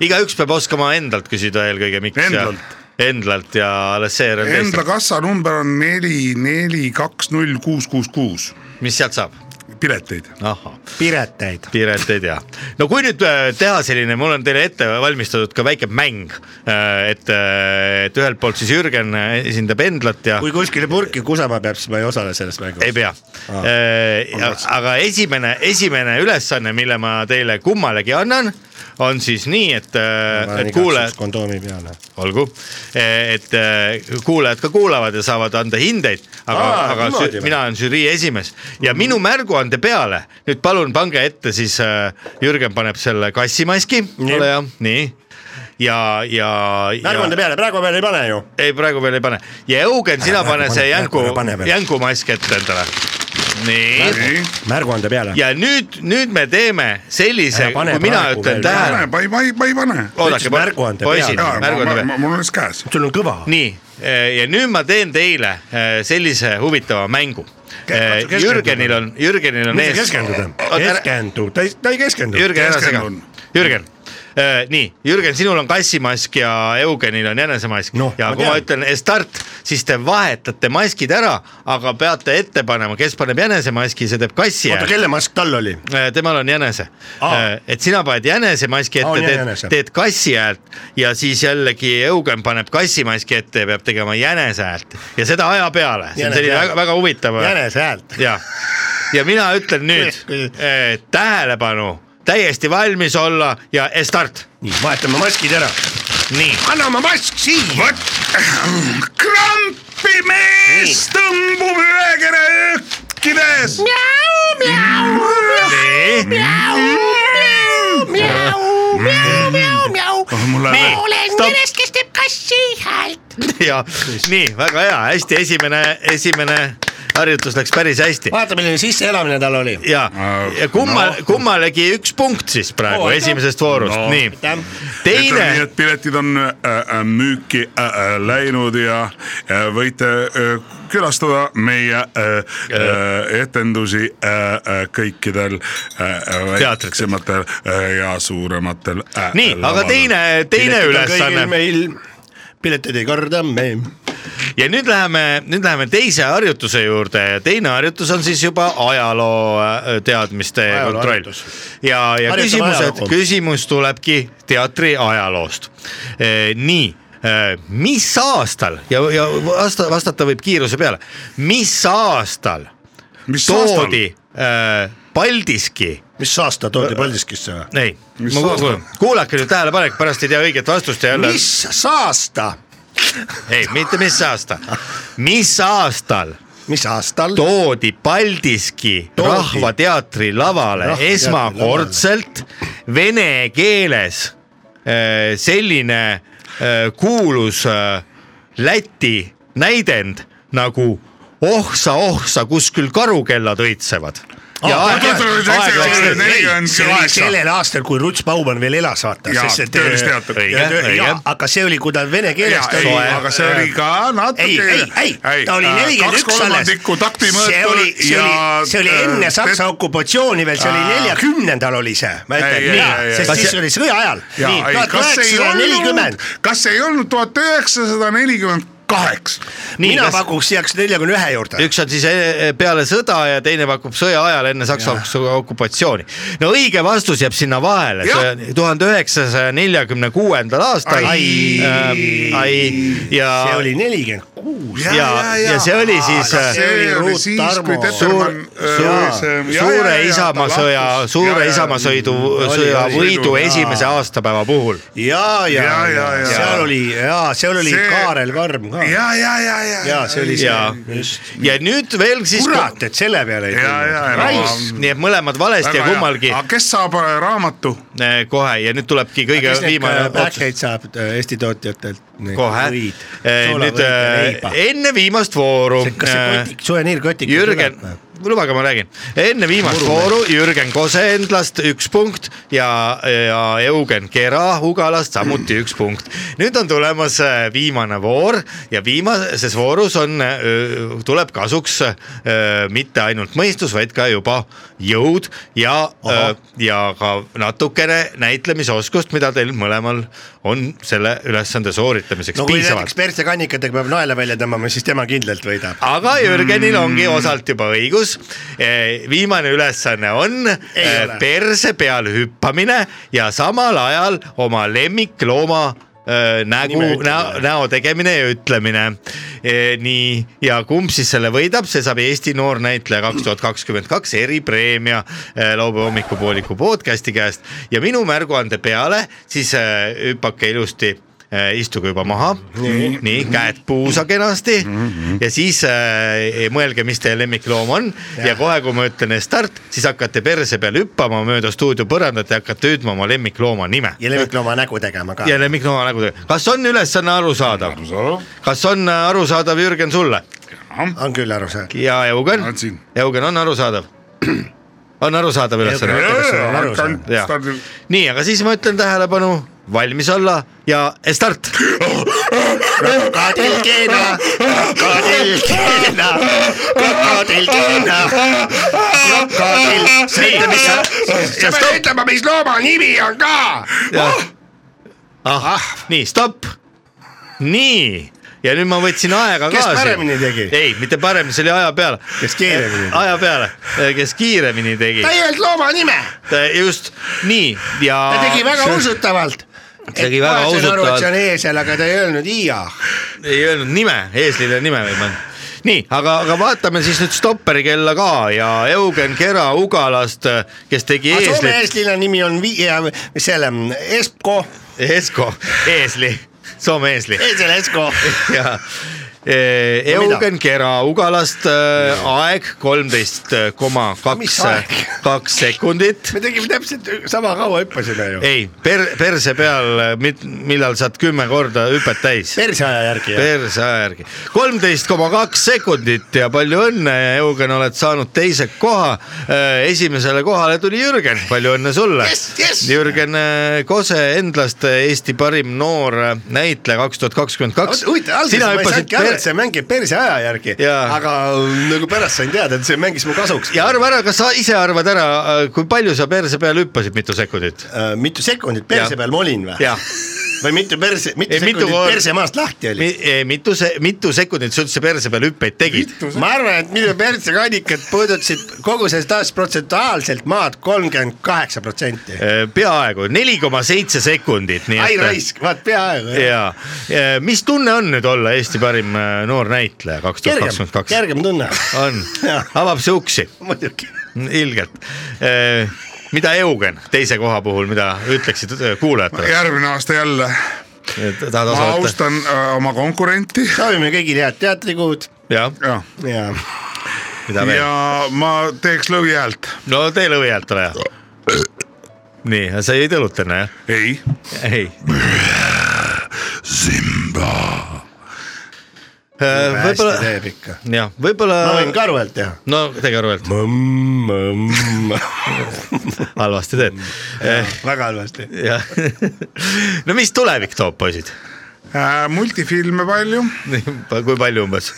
igaüks peab oskama endalt küsida eelkõige , miks . Endlalt. . Endlalt ja alles seejärel Endla teistelt . kassa number on neli , neli , kaks , null , kuus , kuus , kuus . mis sealt saab ? pileteid . ahah , Pireteid . Piret ei tea . no kui nüüd äh, teha selline , mul on teile ette valmistatud ka väike mäng , et , et ühelt poolt siis Jürgen äh, esindab Endlat ja kui kuskile purki kusema peab , siis ma ei osale selles mängus . ei pea . Ah. aga esimene , esimene ülesanne , mille ma teile kummalegi annan , on siis nii , et , et kuulajad , kondoomi peale . olgu , et eh, kuulajad ka kuulavad ja saavad anda hindeid , aga Aa, , aga niimoodi sü- või? Mm. mina olen žürii esimees ja minu märguande peale nüüd palun pange ette siis eh, Jürgen paneb selle kassimaski , ole hea , nii ja , ja . märguande peale , praegu veel ei pane ju . ei , praegu veel ei pane ja Eugen , sina Ära pane praegu see pane, jänku praegu ära pane , veel. jänkumask ette endale . nii , märguande peale . ja nüüd , nüüd me teeme sellise , Ära pane kui mina praegu ütlen veel. tähele ma ei , ma ei , ma ei pane . oodake , märguande poisid , peale. märguande peale . mul on siis käes . sul on kõva . nii , ja nüüd ma teen teile eh, sellise huvitava mängu . keskenduda. Jürgenil on , Jürgenil on mis ees sa . keskendud ? keskendu , ta ei , ta ei keskendu . Jürgen , ära sega . Jürgen , nii , Jürgen , sinul on kassimask ja Eugenil on jänesemask no, ja ma kui ma tean. ütlen "Eh, start , siis te vahetate maskid ära , aga peate ette panema , kes paneb jänesemaski , see teeb kassi oota , ära kelle mask tal oli ? Äh, temal on jänese Äh, Aa. , et sina paned jänesemaski Aa, on ette , teed jänese. , teed kassi häält ja siis jällegi Eugen paneb kassimaski ette ja peab tegema jänese häält ja seda aja peale , see on Jänese selline hääl. väga, väga huvitav . jänese häält . ja , ja mina ütlen nüüd eh, tähelepanu , täiesti valmis olla ja eh, start . nii , vahetame maskid ära . nii , anna oma mask siia . vot , krampi mees tõmbub ühekere öökides . nii , Oh, Ah, mul läheb veel . Stopp. millest , kes teeb kassi häält . ja nii , väga hea , hästi , esimene , esimene harjutus läks päris hästi . vaata , milline sisseelamine tal oli . ja , ja kumma no. , kummalegi üks punkt siis praegu Oo, oh, aitäh. esimesest voorust no. , nii . ütleme nii , teine , et piletid on äh, äh, müüki äh, äh, läinud ja äh, võite äh, külastada meie äh, äh, etendusi äh, äh, kõikidel äh, äh, väiksematel äh, ja suurematel äh, Nii, aga teine- teine ülesanne. meil piletid ei karda , me . ja nüüd läheme , nüüd läheme teise harjutuse juurde ja teine harjutus on siis juba ajaloo äh, teadmiste Ajaloo ajaloo kontroll harjutus. . ja , ja Harjutame küsimused ajalugu. , küsimus tulebki teatri ajaloost . nii , mis aastal ja , ja vasta , vastata võib kiiruse peale , mis aastal mis toodi aastal? Paldiski mis aasta toodi Paldiskisse või ? ei , Mis ma aasta? kuulan , kuulake nüüd tähelepanelik , pärast ei tea õiget vastust ja jälle . mis saasta ? ei , mitte mis aasta , mis aastal . mis aastal ? toodi Paldiski Toodi. toodi. Rahvateatri lavale Rahvateatri Rahvateatri esmakordselt lavale. vene keeles äh, selline äh, kuulus äh, Läti näidend nagu oh sa , oh sa , kus küll karukellad õitsevad . see oli sellel aastal , kui Ruts Baumann veel elas , vaata . Jaa, Töölis eh, teatab. Õige, õige. aga see oli , kui ta vene keeles Jaa, ei, aga see oli ka natuke- ei , ei , ei , ei, ta oli äh, nelikümmend kaks üks alles . kolmandikku taktimõõtu see oli , see oli ja- , see oli enne äh, Saksa okupatsiooni veel , see oli Aa. neljakümnendal oli see , ma Ei, ütlen ei, ei, nii , ei, sest ei. siis oli sõja ajal . nii , tuhat kas ei üheksasada olnud nelikümmend ,, kas ei olnud tuhat üheksasada nelikümmend kaheksa ? mina pakuks jääks neljakümne ühe juurde . üks on siis eh, peale sõda ja teine pakub sõja ajal enne Saksa okupatsiooni . no õige vastus jääb sinna vahele , see on tuhande üheksasaja neljakümne kuuendal aastal . Ai. ai , ja . see oli nelikümmend kuus . ja , ja, ja see oli siis . äh, suur , suure Isamaa sõja , suure Isamaa sõidu , sõja võidu esimese aastapäeva puhul . ja , ja , ja , ja seal oli , ja seal oli see... Kaarel Karm ka . ja , ja , ja , ja . ja see oli ja see ., ja nüüd veel siis . kurat , et selle peale ei tulnud . raisk . nii et mõlemad valesti ja kummalgi . Ah. kes saab äh, raamatu ? kohe ja nüüd tulebki kõige kes need viimane otsus . pähkleid saab äh, Eesti tootjatelt ? kohe , nüüd äh, enne viimast vooru . Eh, kas see kotik- , suveneerkotik ? Jürgen , lubage , ma räägin , enne viimast Muru- vooru Jürgen Kose Endlast üks punkt ja , ja Eugen Kera Ugalast samuti üks punkt . nüüd on tulemas äh, viimane voor ja viimases voorus on , tuleb kasuks äh, mitte ainult mõistus , vaid ka juba jõud ja , ja ka natukene näitlemisoskust , mida teil mõlemal on selle ülesande sooritamiseks no no, kui piisavalt näiteks . Perse kannikatega peab naela välja tõmbama , siis tema kindlalt võidab . aga Jürgenil ongi osalt juba õigus . viimane ülesanne on eh, ole. perse peal hüppamine ja samal ajal oma lemmiklooma eh, nägu , näo, näo tegemine ja ütlemine . nii , ja kumb siis selle võidab , see saab Eesti noornäitleja kaks tuhat kakskümmend kaks eripreemia eh, laupäeva hommikupooliku podcast'i käest ja minu märguande peale siis eh, hüppake ilusti Eh, istuge juba maha , nii, nii , käed puusa kenasti mm -hmm. ja siis äh, mõelge , mis teie lemmikloom on ja, ja kohe , kui ma ütlen start , siis hakkate perse peal hüppama mööda stuudio põrandat ja hakkate hüüdma oma lemmiklooma nime . ja lemmiklooma nägu tegema ka . ja lemmiklooma nägu , kas on ülesanne arusaadav ? kas on äh, arusaadav , Jürgen , sulle ? on küll arusaadav . ja Eugen ? Eugen on arusaadav ? on arusaadav ülesanne ? Jaa. nii , aga siis ma ütlen tähelepanu , valmis olla ja eh, start . krokodillkeena , krokodillkeena , krokodillkeena , krokodill . Nii. Ja sa stopp. pead ütlema , mis looma nimi on ka . Ah! ahah , Ah, nii stopp . nii ja nüüd ma võtsin aega Kes ka . paremini tegi? ei , mitte paremini , see oli aja peale . kes kiiremini tegi ? aja peale , kes kiiremini tegi ta . ei öelnud looma nime , just nii ja . ta tegi väga . usutavalt . Ah, tegi väga see on usutavalt , eesel , aga ta ei öelnud iia . ei öelnud nime , eeslile nime võib anda nii , aga , aga vaatame siis nüüd stopperi kella ka ja Eugen Kera Ugalast , kes tegi Ah, Soome eeslit , eestlane nimi on vi- , selle Esko , Esko , eesli , Soome eesli eesel Esko . ja e, Eugen Kera Ugalast äh, aeg kolmteist koma kaks Mis aeg? , kaks sekundit . me tegime täpselt sama kaua hüppasime ju . ei , per- , perse peal , millal saad kümme korda hüpet täis . perse aja järgi jah . perse aja järgi , kolmteist koma kaks sekundit ja palju õnne , Eugen , oled saanud teise koha . esimesele kohale tuli Jürgen , palju õnne sulle yes, . Yes. Jürgen äh, Kose Endlast , Eesti parim noor äh, näitleja kaks tuhat kakskümmend kaks . huvitav , alguses ma ei saanudki aru , et see mängib perse aja järgi , aga nagu pärast sain teada , et see mängis mu kasuks . ja arva ära , kas sa ise arvad ära , kui palju sa perse peale hüppasid , mitu sekundit ? Äh, mitu sekundit perse peal ma olin või ? jah . või mitu perse , mitu sekundit perse maast lahti oli ? Mi, eh, mitu se- , mitu sekundit sa üldse perse peal hüppeid tegid ? ma arvan , et minu perse kannikad puudutasid kogu sellest ajast protsentuaalselt maad kolmkümmend kaheksa protsenti . Äh, peaaegu neli koma seitse sekundit , nii et . äh, ai raisk , vaat peaaegu . ja , mis tunne on nüüd olla Eesti parim äh, noor näitleja kaks tuhat kergem kakskümmend , kaks ? kergem tunne . on , avab see uksi . ilgelt . mida Eugen teise koha puhul , mida ütleksid äh, kuulajatele ? järgmine aasta jälle . tahad ma osa võtta ? austan äh, oma konkurenti . soovime kõigile head teatrikuud . jah , ja , ja mida veel ? ja ma teeks lõvihäält . no tee lõvihäält , ole hea . nii , sa ei tõluta enne , jah ? ei . ei . Simba . Äh, võib-olla , teeb ikka . jah , võib-olla . ma võin ka arvelt teha . no tege arvelt . halvasti teed . väga halvasti . jah . no mis tulevik toob , poisid ? Äh, multifilme palju , kui palju umbes ?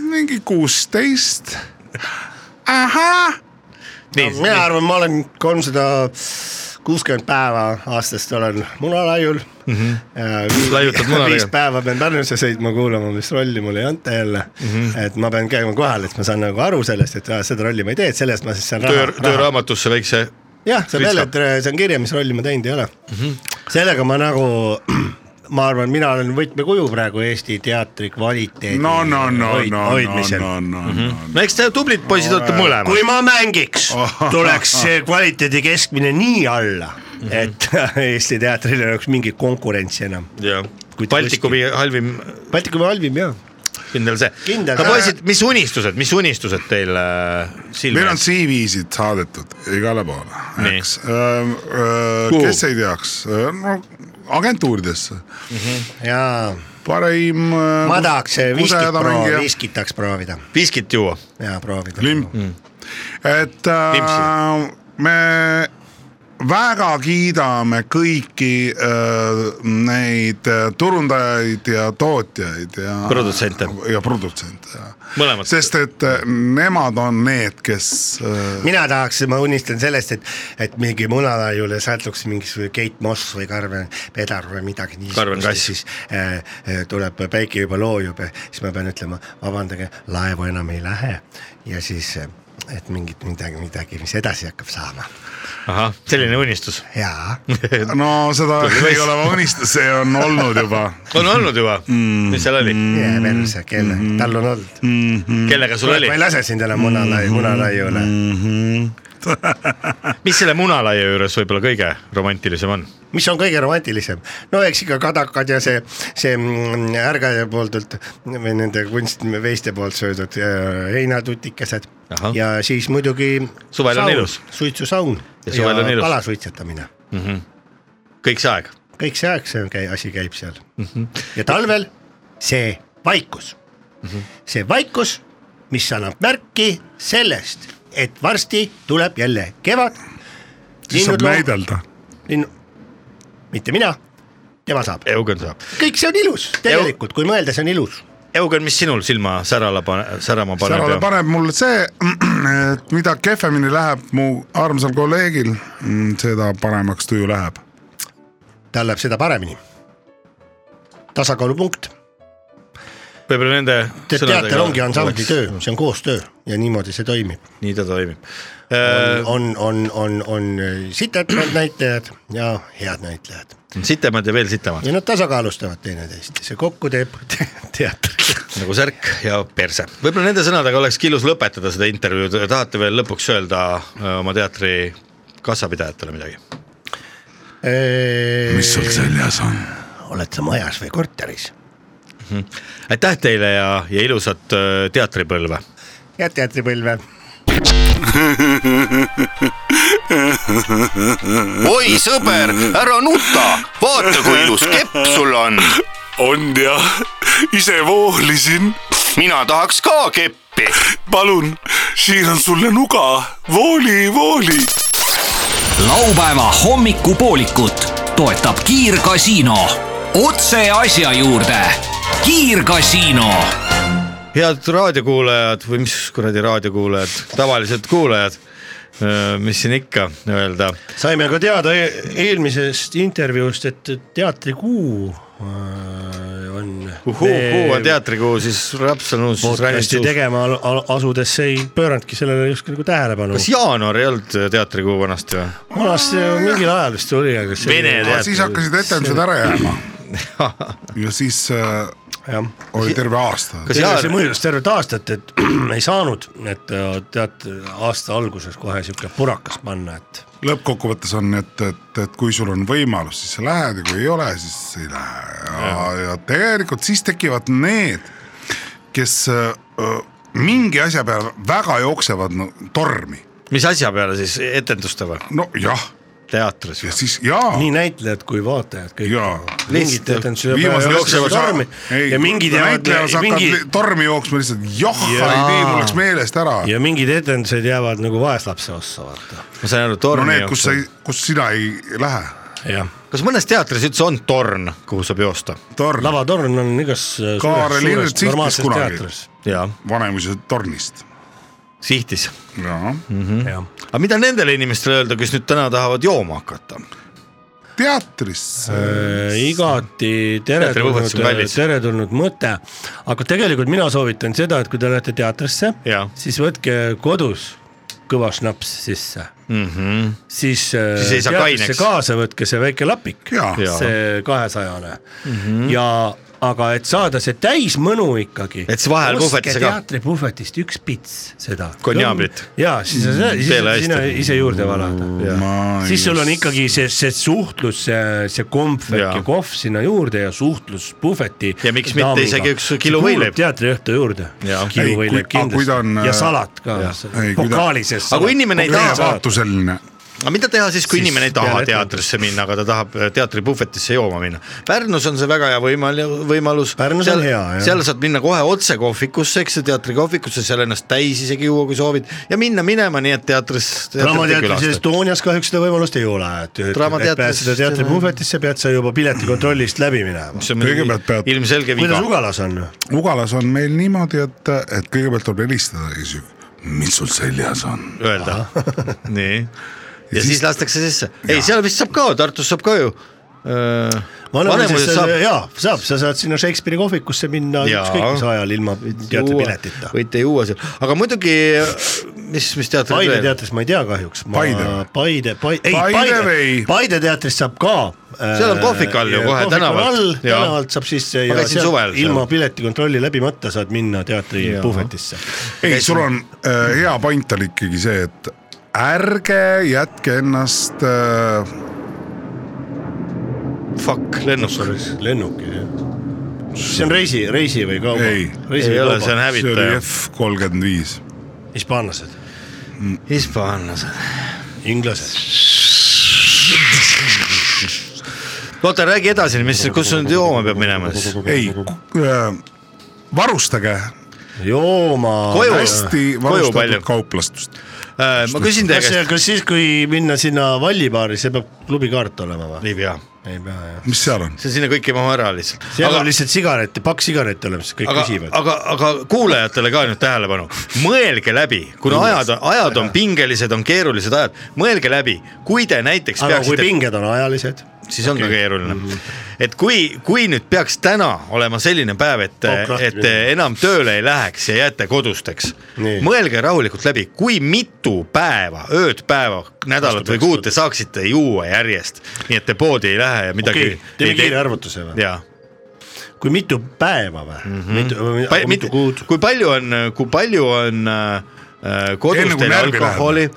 mingi kuusteist . ahah , nii , mina arvan , ma olen kolmsada kuuskümmend päeva aastast olen munalaiul mm . -hmm. Mhm. Laiutad munalaiul. viis päeva pean Pärnusse sõitma kuulama , mis rolli mulle ei anta jälle mm . Mhm. -hmm. et ma pean käima kohal , et ma saan nagu aru sellest , et aa, seda rolli ma ei tee , et selle eest ma siis saan töö raha ,. tööraamatusse väikse . jah , saab jälle , Vitskab. et see on kirja , mis rolli ma teinud ei ole mm . Mhm. -hmm. sellega ma nagu , ma arvan , mina olen võtmekuju praegu Eesti teatri kvaliteedi no , no , no , hoid- no , hoidmisel Mhm. no , no , no , no eks te tublid poisid olete mõlemad . kui ma mängiks , tuleks see kvaliteedi keskmine nii alla , et Eesti teatril ei oleks mingit konkurentsi enam . jah , Baltikumi halvim , Baltikumi halvim ja . kindel see . Kindel. aga poisid , mis unistused , mis unistused teil äh, meil silme on ees ? CV-sid saadetud igale poole , Nii. eks . kes ei teaks , no agentuuridesse , jaa , parim . äh, ma tahaks äh, eh, viskit proovida , viskit tahaks proovida viskit juua . ja proovida . limp , Mm. et äh, Limpsi. me väga kiidame kõiki äh, neid äh, turundajaid ja tootjaid ja . Produtsente. ja produtsente ja , mõlemad . sest et äh, nemad on need , kes äh, mina tahaks , ma unistan sellest , et , et mingi munalaiule satuks mingisugune Keit Moss või Karmen Pedar või midagi Karmen niisugust , Kass. siis äh, äh, tuleb Päike juba loojub ja siis ma pean ütlema , vabandage , laevu enam ei lähe ja siis , et mingit midagi , midagi , mis edasi hakkab saama ahah , selline unistus . jaa , Mm-hmm. no seda Tuli ei vist. ole vaunist , see on olnud juba on olnud juba mm. , mis seal oli , jää perse , kelle mm , -hmm. tal on olnud . kellega Mm-hmm. sul oli Mm-hmm. ma ei , lase sind enam munalai- , munalaiule mm . -hmm. mis selle munalaia juures võib-olla kõige romantilisem on ? mis on kõige romantilisem , no eks ikka kadakad ja see , see mm, härgade poolt või nende kunstveiste poolt söödud äh, heinatutikesed Ahah. ja siis muidugi . Suvel on ilus. suitsusaun Ja suvel on ilus. kalasuitsetamine , kõik see aeg , kõik see aeg , see on käi- , asi käib seal mm . Mhm. -hmm. ja talvel see vaikus mm , Mhm. -hmm. see vaikus , mis annab märki sellest , et varsti tuleb jälle kevad . siis saab näidelda . linnu , mitte mina , tema saab . Eugen saab . kõik see on ilus , tegelikult , kui mõelda , see on ilus . Eugen , mis sinul silma särala pane , särama paneb särale ja paneb mul see , et mida kehvemini läheb mu armsal kolleegil , seda paremaks tuju läheb . tal läheb seda paremini . tasakaalupunkt , võib-olla nende teater ongi ansambli töö , see on koostöö ja niimoodi see toimib . nii ta toimib . on , on , on , on sitemad näitlejad ja head näitlejad sitemad ja veel sitemad ja nad tasakaalustavad teineteist ja see kokku teeb te- teatri . nagu särk ja perse . võib-olla nende sõnadega olekski ilus lõpetada seda intervjuud , tahate veel lõpuks öelda öö, oma teatri kassapidajatele midagi ? mis seljas on ? Äh, oled sa majas või korteris ? aitäh teile ja , ja ilusat öö, teatripõlve . ja teatripõlve . oi sõber , ära nuta , vaata kui ilus kepp sul on . on jah , ise voolisin . mina tahaks ka keppi . palun , siiran sulle nuga , vooli , vooli . laupäeva hommikupoolikut toetab Kiirgasiino . otse asja juurde . kiirgasiino . head raadiokuulajad või mis kuradi raadiokuulajad , tavalised kuulajad , mis siin ikka öelda . saime ka teada e eelmisest intervjuust , et teatrikuu äh, on . kuu on teatrikuu , siis Raps on uus , siis Rännit podcast'i uus . tegema al- al- asudes ei pööranudki sellele justkui nagu tähelepanu . kas jaanuar ei olnud äh, teatrikuu vanasti või ? vanasti mingil ajal vist oli , aga . Vene teater. siis hakkasid etendused ära jääma . ja siis äh, oli terve aasta . kas see, see mõjus tervet aastat , et ei saanud , et äh, tead aasta alguses kohe sihuke purakas panna , et lõppkokkuvõttes on , et , et , et kui sul on võimalus , siis sa lähed ja kui ei ole , siis ei lähe ja , ja tegelikult siis tekivad need , kes äh, äh, mingi asja peale väga jooksevad no, tormi . mis asja peale siis , etenduste või ? nojah . teatris ja siis jaa . nii näitlejad kui vaatajad kõik . mingid Lihtsalt etendused viimase peavad asjaga jooksma sa- tormi ei, ja mingid jäävad näitleja sa hakkad mingi li- tormi jooksma lihtsalt , joh , Jaa. ei tee , mul läks meelest ära . ja mingid etendused jäävad nagu vaeslapse ossa , vaata . ma sain aru , no torni need , kus sa , kus sina ei lähe . jah . kas mõnes teatris üldse on torn , kuhu saab joosta ? torn . lavatorn on igas äh, suures- Kaarel suures Ilvet sihtis normaalses kunagi teatris. Vanemuise tornist . sihtis . jaa mm . -hmm. aga mida nendele inimestele öelda , kes nüüd täna tahavad jooma hakata ? teatrisse Äh, igati teretulnud äh, Teatrivõhvõttes on , kallis. teretulnud mõte , aga tegelikult mina soovitan seda , et kui te lähete teatrisse , siis võtke kodus kõva šnaps sisse mm . -hmm. siis, äh, Siis ei saa kaineks. kaasa võtke see väike lapik , Jaa. see kahesajane Mm -hmm. ja aga et saada see täismõnu ikkagi . Et siis vahel puhvetisse ka. teatripuhvetist üks pits seda . Konjaablit. ja siis sa Mm, saad , siis teele sa- hästi. sinna ise juurde valada . siis sul on ikkagi see , see suhtlus , see , see kompvek ja, Jaa. ja kohv sinna juurde ja suhtlus puhveti . Ja miks mitte isegi üks kilo võileib. teatriõhtu juurde . Ei, kilo võileib kui- aga kui ta on, kindlasti ja äh, salat ka jah. . Ei, kui ta- pokaali sees . Aga kui inimene ei taha- vaatuseline . aga mida teha siis , kui Siis inimene ei taha peale teatrisse minna , aga ta tahab teatripuhvetisse jooma minna ? Pärnus on see väga hea võimal- , võimalus . Pärnus on hea, jah. seal saad minna kohe otse kohvikusse , eks ju , teatrikohvikusse , seal ennast täis isegi juua , kui soovid ja minna minema , nii et teatris . draamateatris Estonias kahjuks seda võimalust ei ole , et , et Draamateatris- pääseda teatripuhvetisse , pead sa juba piletikontrollist läbi minema . Kõigepealt pead- ilmselge viga . kuidas Ugalas on ? Ugalas on meil niimoodi , et , et kõigepealt tuleb helistada , kes ju , mis sul seljas on . öelda , nii . ja siis, siis lastakse sisse , ei , seal vist saab ka , Tartus saab ka ju . Äh, Vanemuises saab , jaa , saab , sa saad sinna Shakespeare'i kohvikusse minna Jaa. ükskõik mis ajal ilma teatripiletita . võite juua seal , aga muidugi , mis , mis teatrid Paide teatris ma ei tea kahjuks . Paide või? Paide , Paide , ei Paide Paide või- , Paide teatris saab ka . äh, Seal on kohvik all ju kohe, tänavalt. tänavalt . Jaa. tänavalt saab sisse Ma ja käisin suvel sealt seal. ilma piletikontrolli läbimata saad minna Jaa. teatripuhvetisse . ei , sul on äh, hea point on ikkagi see , et ärge jätke ennast äh, . Fuck , lennuk . lennukil jah . see on reisi , reisi või kauba ? ei , reisi või kauba ? see oli F kolmkümmend viis . hispaanlased . hispaanlased . inglased . oota , räägi edasi , mis , kus nüüd jooma peab minema siis ? ei , varustage jooma . Koju. hästi Koju palju. varustatud kauplastust . Äh, ma küsin teie kas , käest , kas siis , kui minna sinna Vallibaari , see peab klubikaart olema või ? ei pea , ei pea jah . mis seal on ? see sinna kõik ei mahu ära lihtsalt . seal aga... on lihtsalt sigaret , pakk sigarette olemas , kõik aga küsivad ,. aga , aga kuulajatele ka nüüd tähelepanu , mõelge läbi , kuna ajad , ajad on pingelised , on keerulised ajad , mõelge läbi , kui te näiteks aga kui Mhm. peaksite , pinged on ajalised ? siis on ka keeruline . et kui , kui nüüd peaks täna olema selline päev , et Oh, , krahti et te enam tööle ei läheks ja jääte kodusteks , mõelge rahulikult läbi , kui mitu päeva , ööd , päeva , nädalat või kuud te saaksite juua järjest , nii et te poodi ei lähe ja midagi okei , teeme kiire . arvutuse või ? jaa kui Mhm. mitu päeva või mm ? -hmm. mitu , Pa- mitu mit- kuud ? kui palju on , kui palju on äh, äh, kodus Enne, kui teil närvi alkoholi ,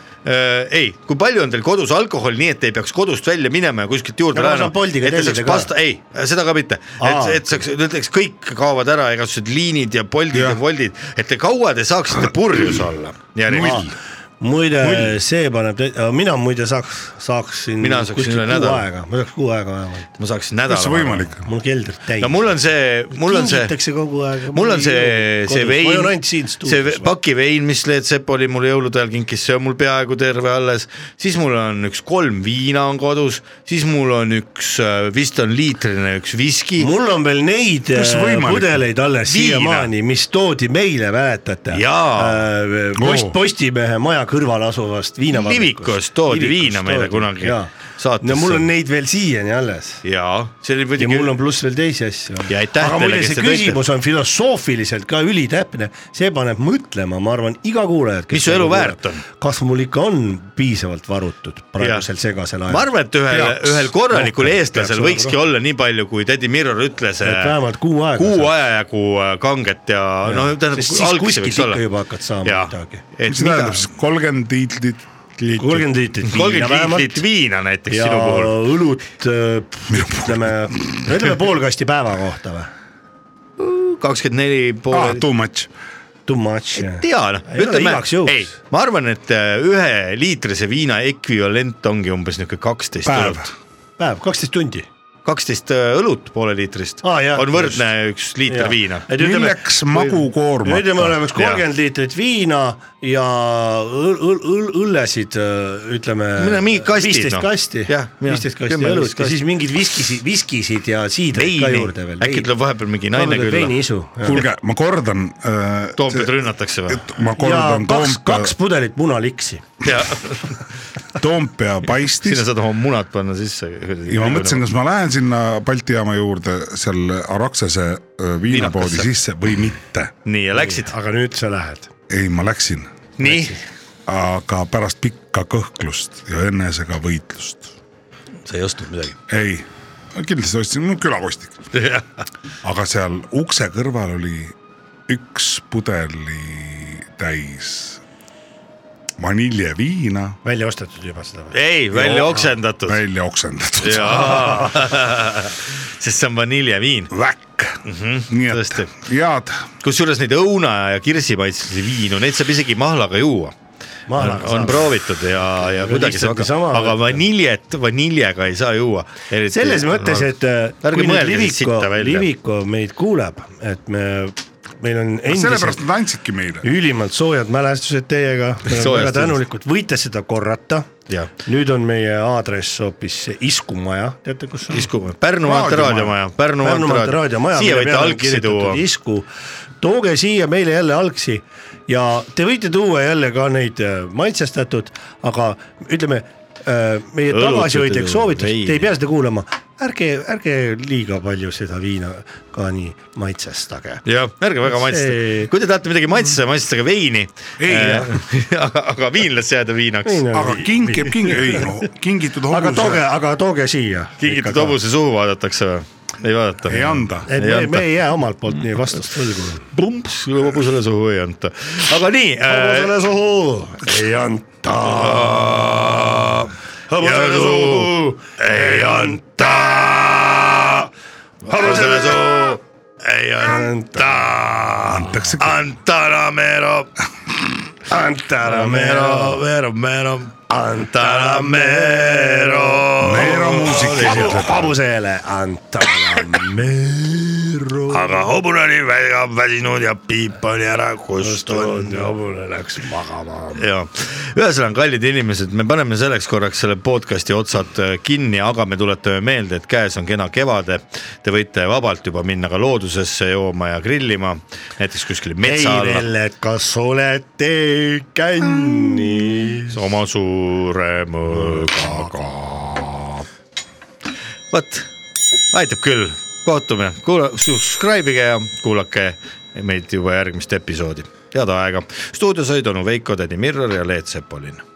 ei , kui palju on teil kodus alkoholi , nii et te ei peaks kodust välja minema ja kuskilt juurde No ma saan Boltiga et te saaks tellida ka. pasta , ei , seda ka mitte , et Aa. , et saaks , näiteks kõik kaovad ära , igasugused liinid ja poldid ja, ja voldid , et te kaua te saaksite purjus olla . Null. muide , see paneb , mina muide saaks , saaksin . Mina saaksin üle nädala. ma saaks kuu aega vähemalt . ma saaksin nädala Kuidas see võimalik mul keldrid täis . no mul on see , mul on see , kingitakse kogu aeg . mul on see , see ma joon vein ainult siin , see ve- stuudios . paki vein , mis Leet Sepp oli mulle jõulude ajal kinkis , see on mul peaaegu terve alles , siis mul on üks kolm viina on kodus , siis mul on üks , vist on liitrine üks viski . mul on veel neid Kuidas äh, võimalik? pudeleid alles Viina. siiamaani , mis toodi meile , mäletate ? Äh, post , Oo. Postimehe maja kõrval asuvast viinavabrikust . Livikos toodi viina meile kunagi saatesse. no mul on neid veel siiani alles . jaa , see oli ja muidugi , mul on pluss veel teisi asju . ja aitäh aga teile , muide , kes see te tõite . küsimus on filosoofiliselt ka ülitäpne , see paneb mõtlema , ma arvan , iga kuulajat . Mis su elu väärt on? ? kas mul ikka on piisavalt varutud praegusel segasel ajal ? ma arvan , et ühel , ühel korralikul eestlasel võikski olla nii palju , kui tädi Mirror ütles . et vähemalt kuu aega . äh, kuu aja jagu äh, kanget ja, ja. no tähendab , Sest siis algse võiks kuskilt olla ikka . juba hakkad saama Jaa. midagi . et mis see mida tähendab , siis kolmkümmend liitrit ? kolmkümmend liitrit viina kolmkümmend vähemalt liitrit viina näiteks ja sinu puhul . õlut äh, ütleme , no ütleme pool kasti päeva kohta või ? kakskümmend neli pool Ah, too much . Too much jah . tea noh , Ei ole ütleme igaks juhuks. , ei , ma arvan , et äh, üheliitrise viina ekvivalent ongi umbes niisugune kaksteist Päev. õlut . päev , kaksteist tundi . kaksteist äh, õlut pooleliitrist Aa, jah, on võrdne üks liiter Jaa. viina . Et ütleme- milleks magu koormata ? nüüd me oleme üks kolmkümmend liitrit viina ja õl- , õl- , õl- , õllesid äh, ütleme . Mine mingi kastid, viisteist noh. kasti , Jah, jah. viisteist kasti Kümme, õlut viisteist ja kasti. siis mingeid viskisid , viskisid ja siidreid ka veini juurde , veel . äkki tuleb vahepeal mingi naine Vahepeal külla . veiniisu, jah. kuulge , ma kordan äh, . Toompead rünnatakse või ? ma ja kordan kaks , Toompea , kaks pudelit munaliksi . Toompea paistis sinna saad oma munad panna sisse . ja ma mõtlesin , kas ma lähen sinna Balti jaama juurde seal Araksese äh, viinapoodi Viinakusse. sisse või mitte . nii ja läksid . aga nüüd sa lähed . ei , ma läksin , nii , aga pärast pikka kõhklust ja enesega võitlust . sa ei ostnud midagi . ei , kindlasti ostsin , no külakostik . aga seal ukse kõrval oli üks pudeli täis vaniljeviina . välja ostetud juba seda või ? ei , välja oksendatud . välja oksendatud . jaa , sest see on vaniljeviin . Väkk mm . -hmm. nii et head . kusjuures neid õuna ja kirsimaitselisi viinu , neid saab isegi mahlaga juua . on, Mahlaga on saab. proovitud ja , ja Aga kuidagi lihtsalt saab niisama , aga vaniljet vaniljega ei saa juua . selles mõttes , et äh, ärge kui nüüd mõelge siit Liviko sitta , välja . Liviko meid kuuleb , et me , meil on endiselt sellepärast nad andsidki meile . ülimalt soojad mälestused teiega , me oleme Soojast väga tänulikud , võite seda korrata . Jah. nüüd on meie aadress hoopis Iskumaja , teate kus on ? Iskumaja. Pärnu maantee raadiomaja, Pärnu maantee maantee raadio- raadiomaja . Siia võite algsi tuua. isku , tooge siia meile jälle algsi ja te võite tuua jälle ka neid äh, maitsestatud , aga ütleme äh, meie Õlut võite tagasihoidlik tuua, soovitus , veini. te ei pea seda kuulama , ärge , ärge liiga palju seda viina ka nii maitsestage . jah , ärge väga maitsestage , kui te tahate midagi maitsta , maitsestage veini . Ei, jah. aga viin las jääda viinaks . Vein on Aga viin. king jääb king- ei, no, kingitud aga tooge , aga tooge siia . kingitud hobuse suhu vaadatakse või ? ei vaadata . Ei anda. et Ei me , anta. me ei jää omalt poolt nii vastust võlgu . plumps , hobusele suhu ei anta . aga nii hobusele suhu Äh, ei anta . hobusele suhu ei anta . hobusele suhu ei anta . antakse . Antanamero . Antanamero , Vero , Vero . Antanamero . Vero muusika . hobusele anta . aga hobune oli väga väsinud ja piip oli ära kustunud . hobune läks magama . ja ühesõnaga , kallid inimesed , me paneme selleks korraks selle podcast'i otsad äh, kinni , aga me tuletame meelde , et käes on kena kevade . Te võite vabalt juba minna ka loodusesse jooma ja grillima , näiteks kuskile ei metsa alla . Velle , kas olete känni ? oma suure mõõgaga . vot , aitab küll , kohtume , kuula- , subscribe'ige ja kuulake meid juba järgmist episoodi , head aega . stuudios olid onu Veiko , tädi Mirror ja Leet Sepolin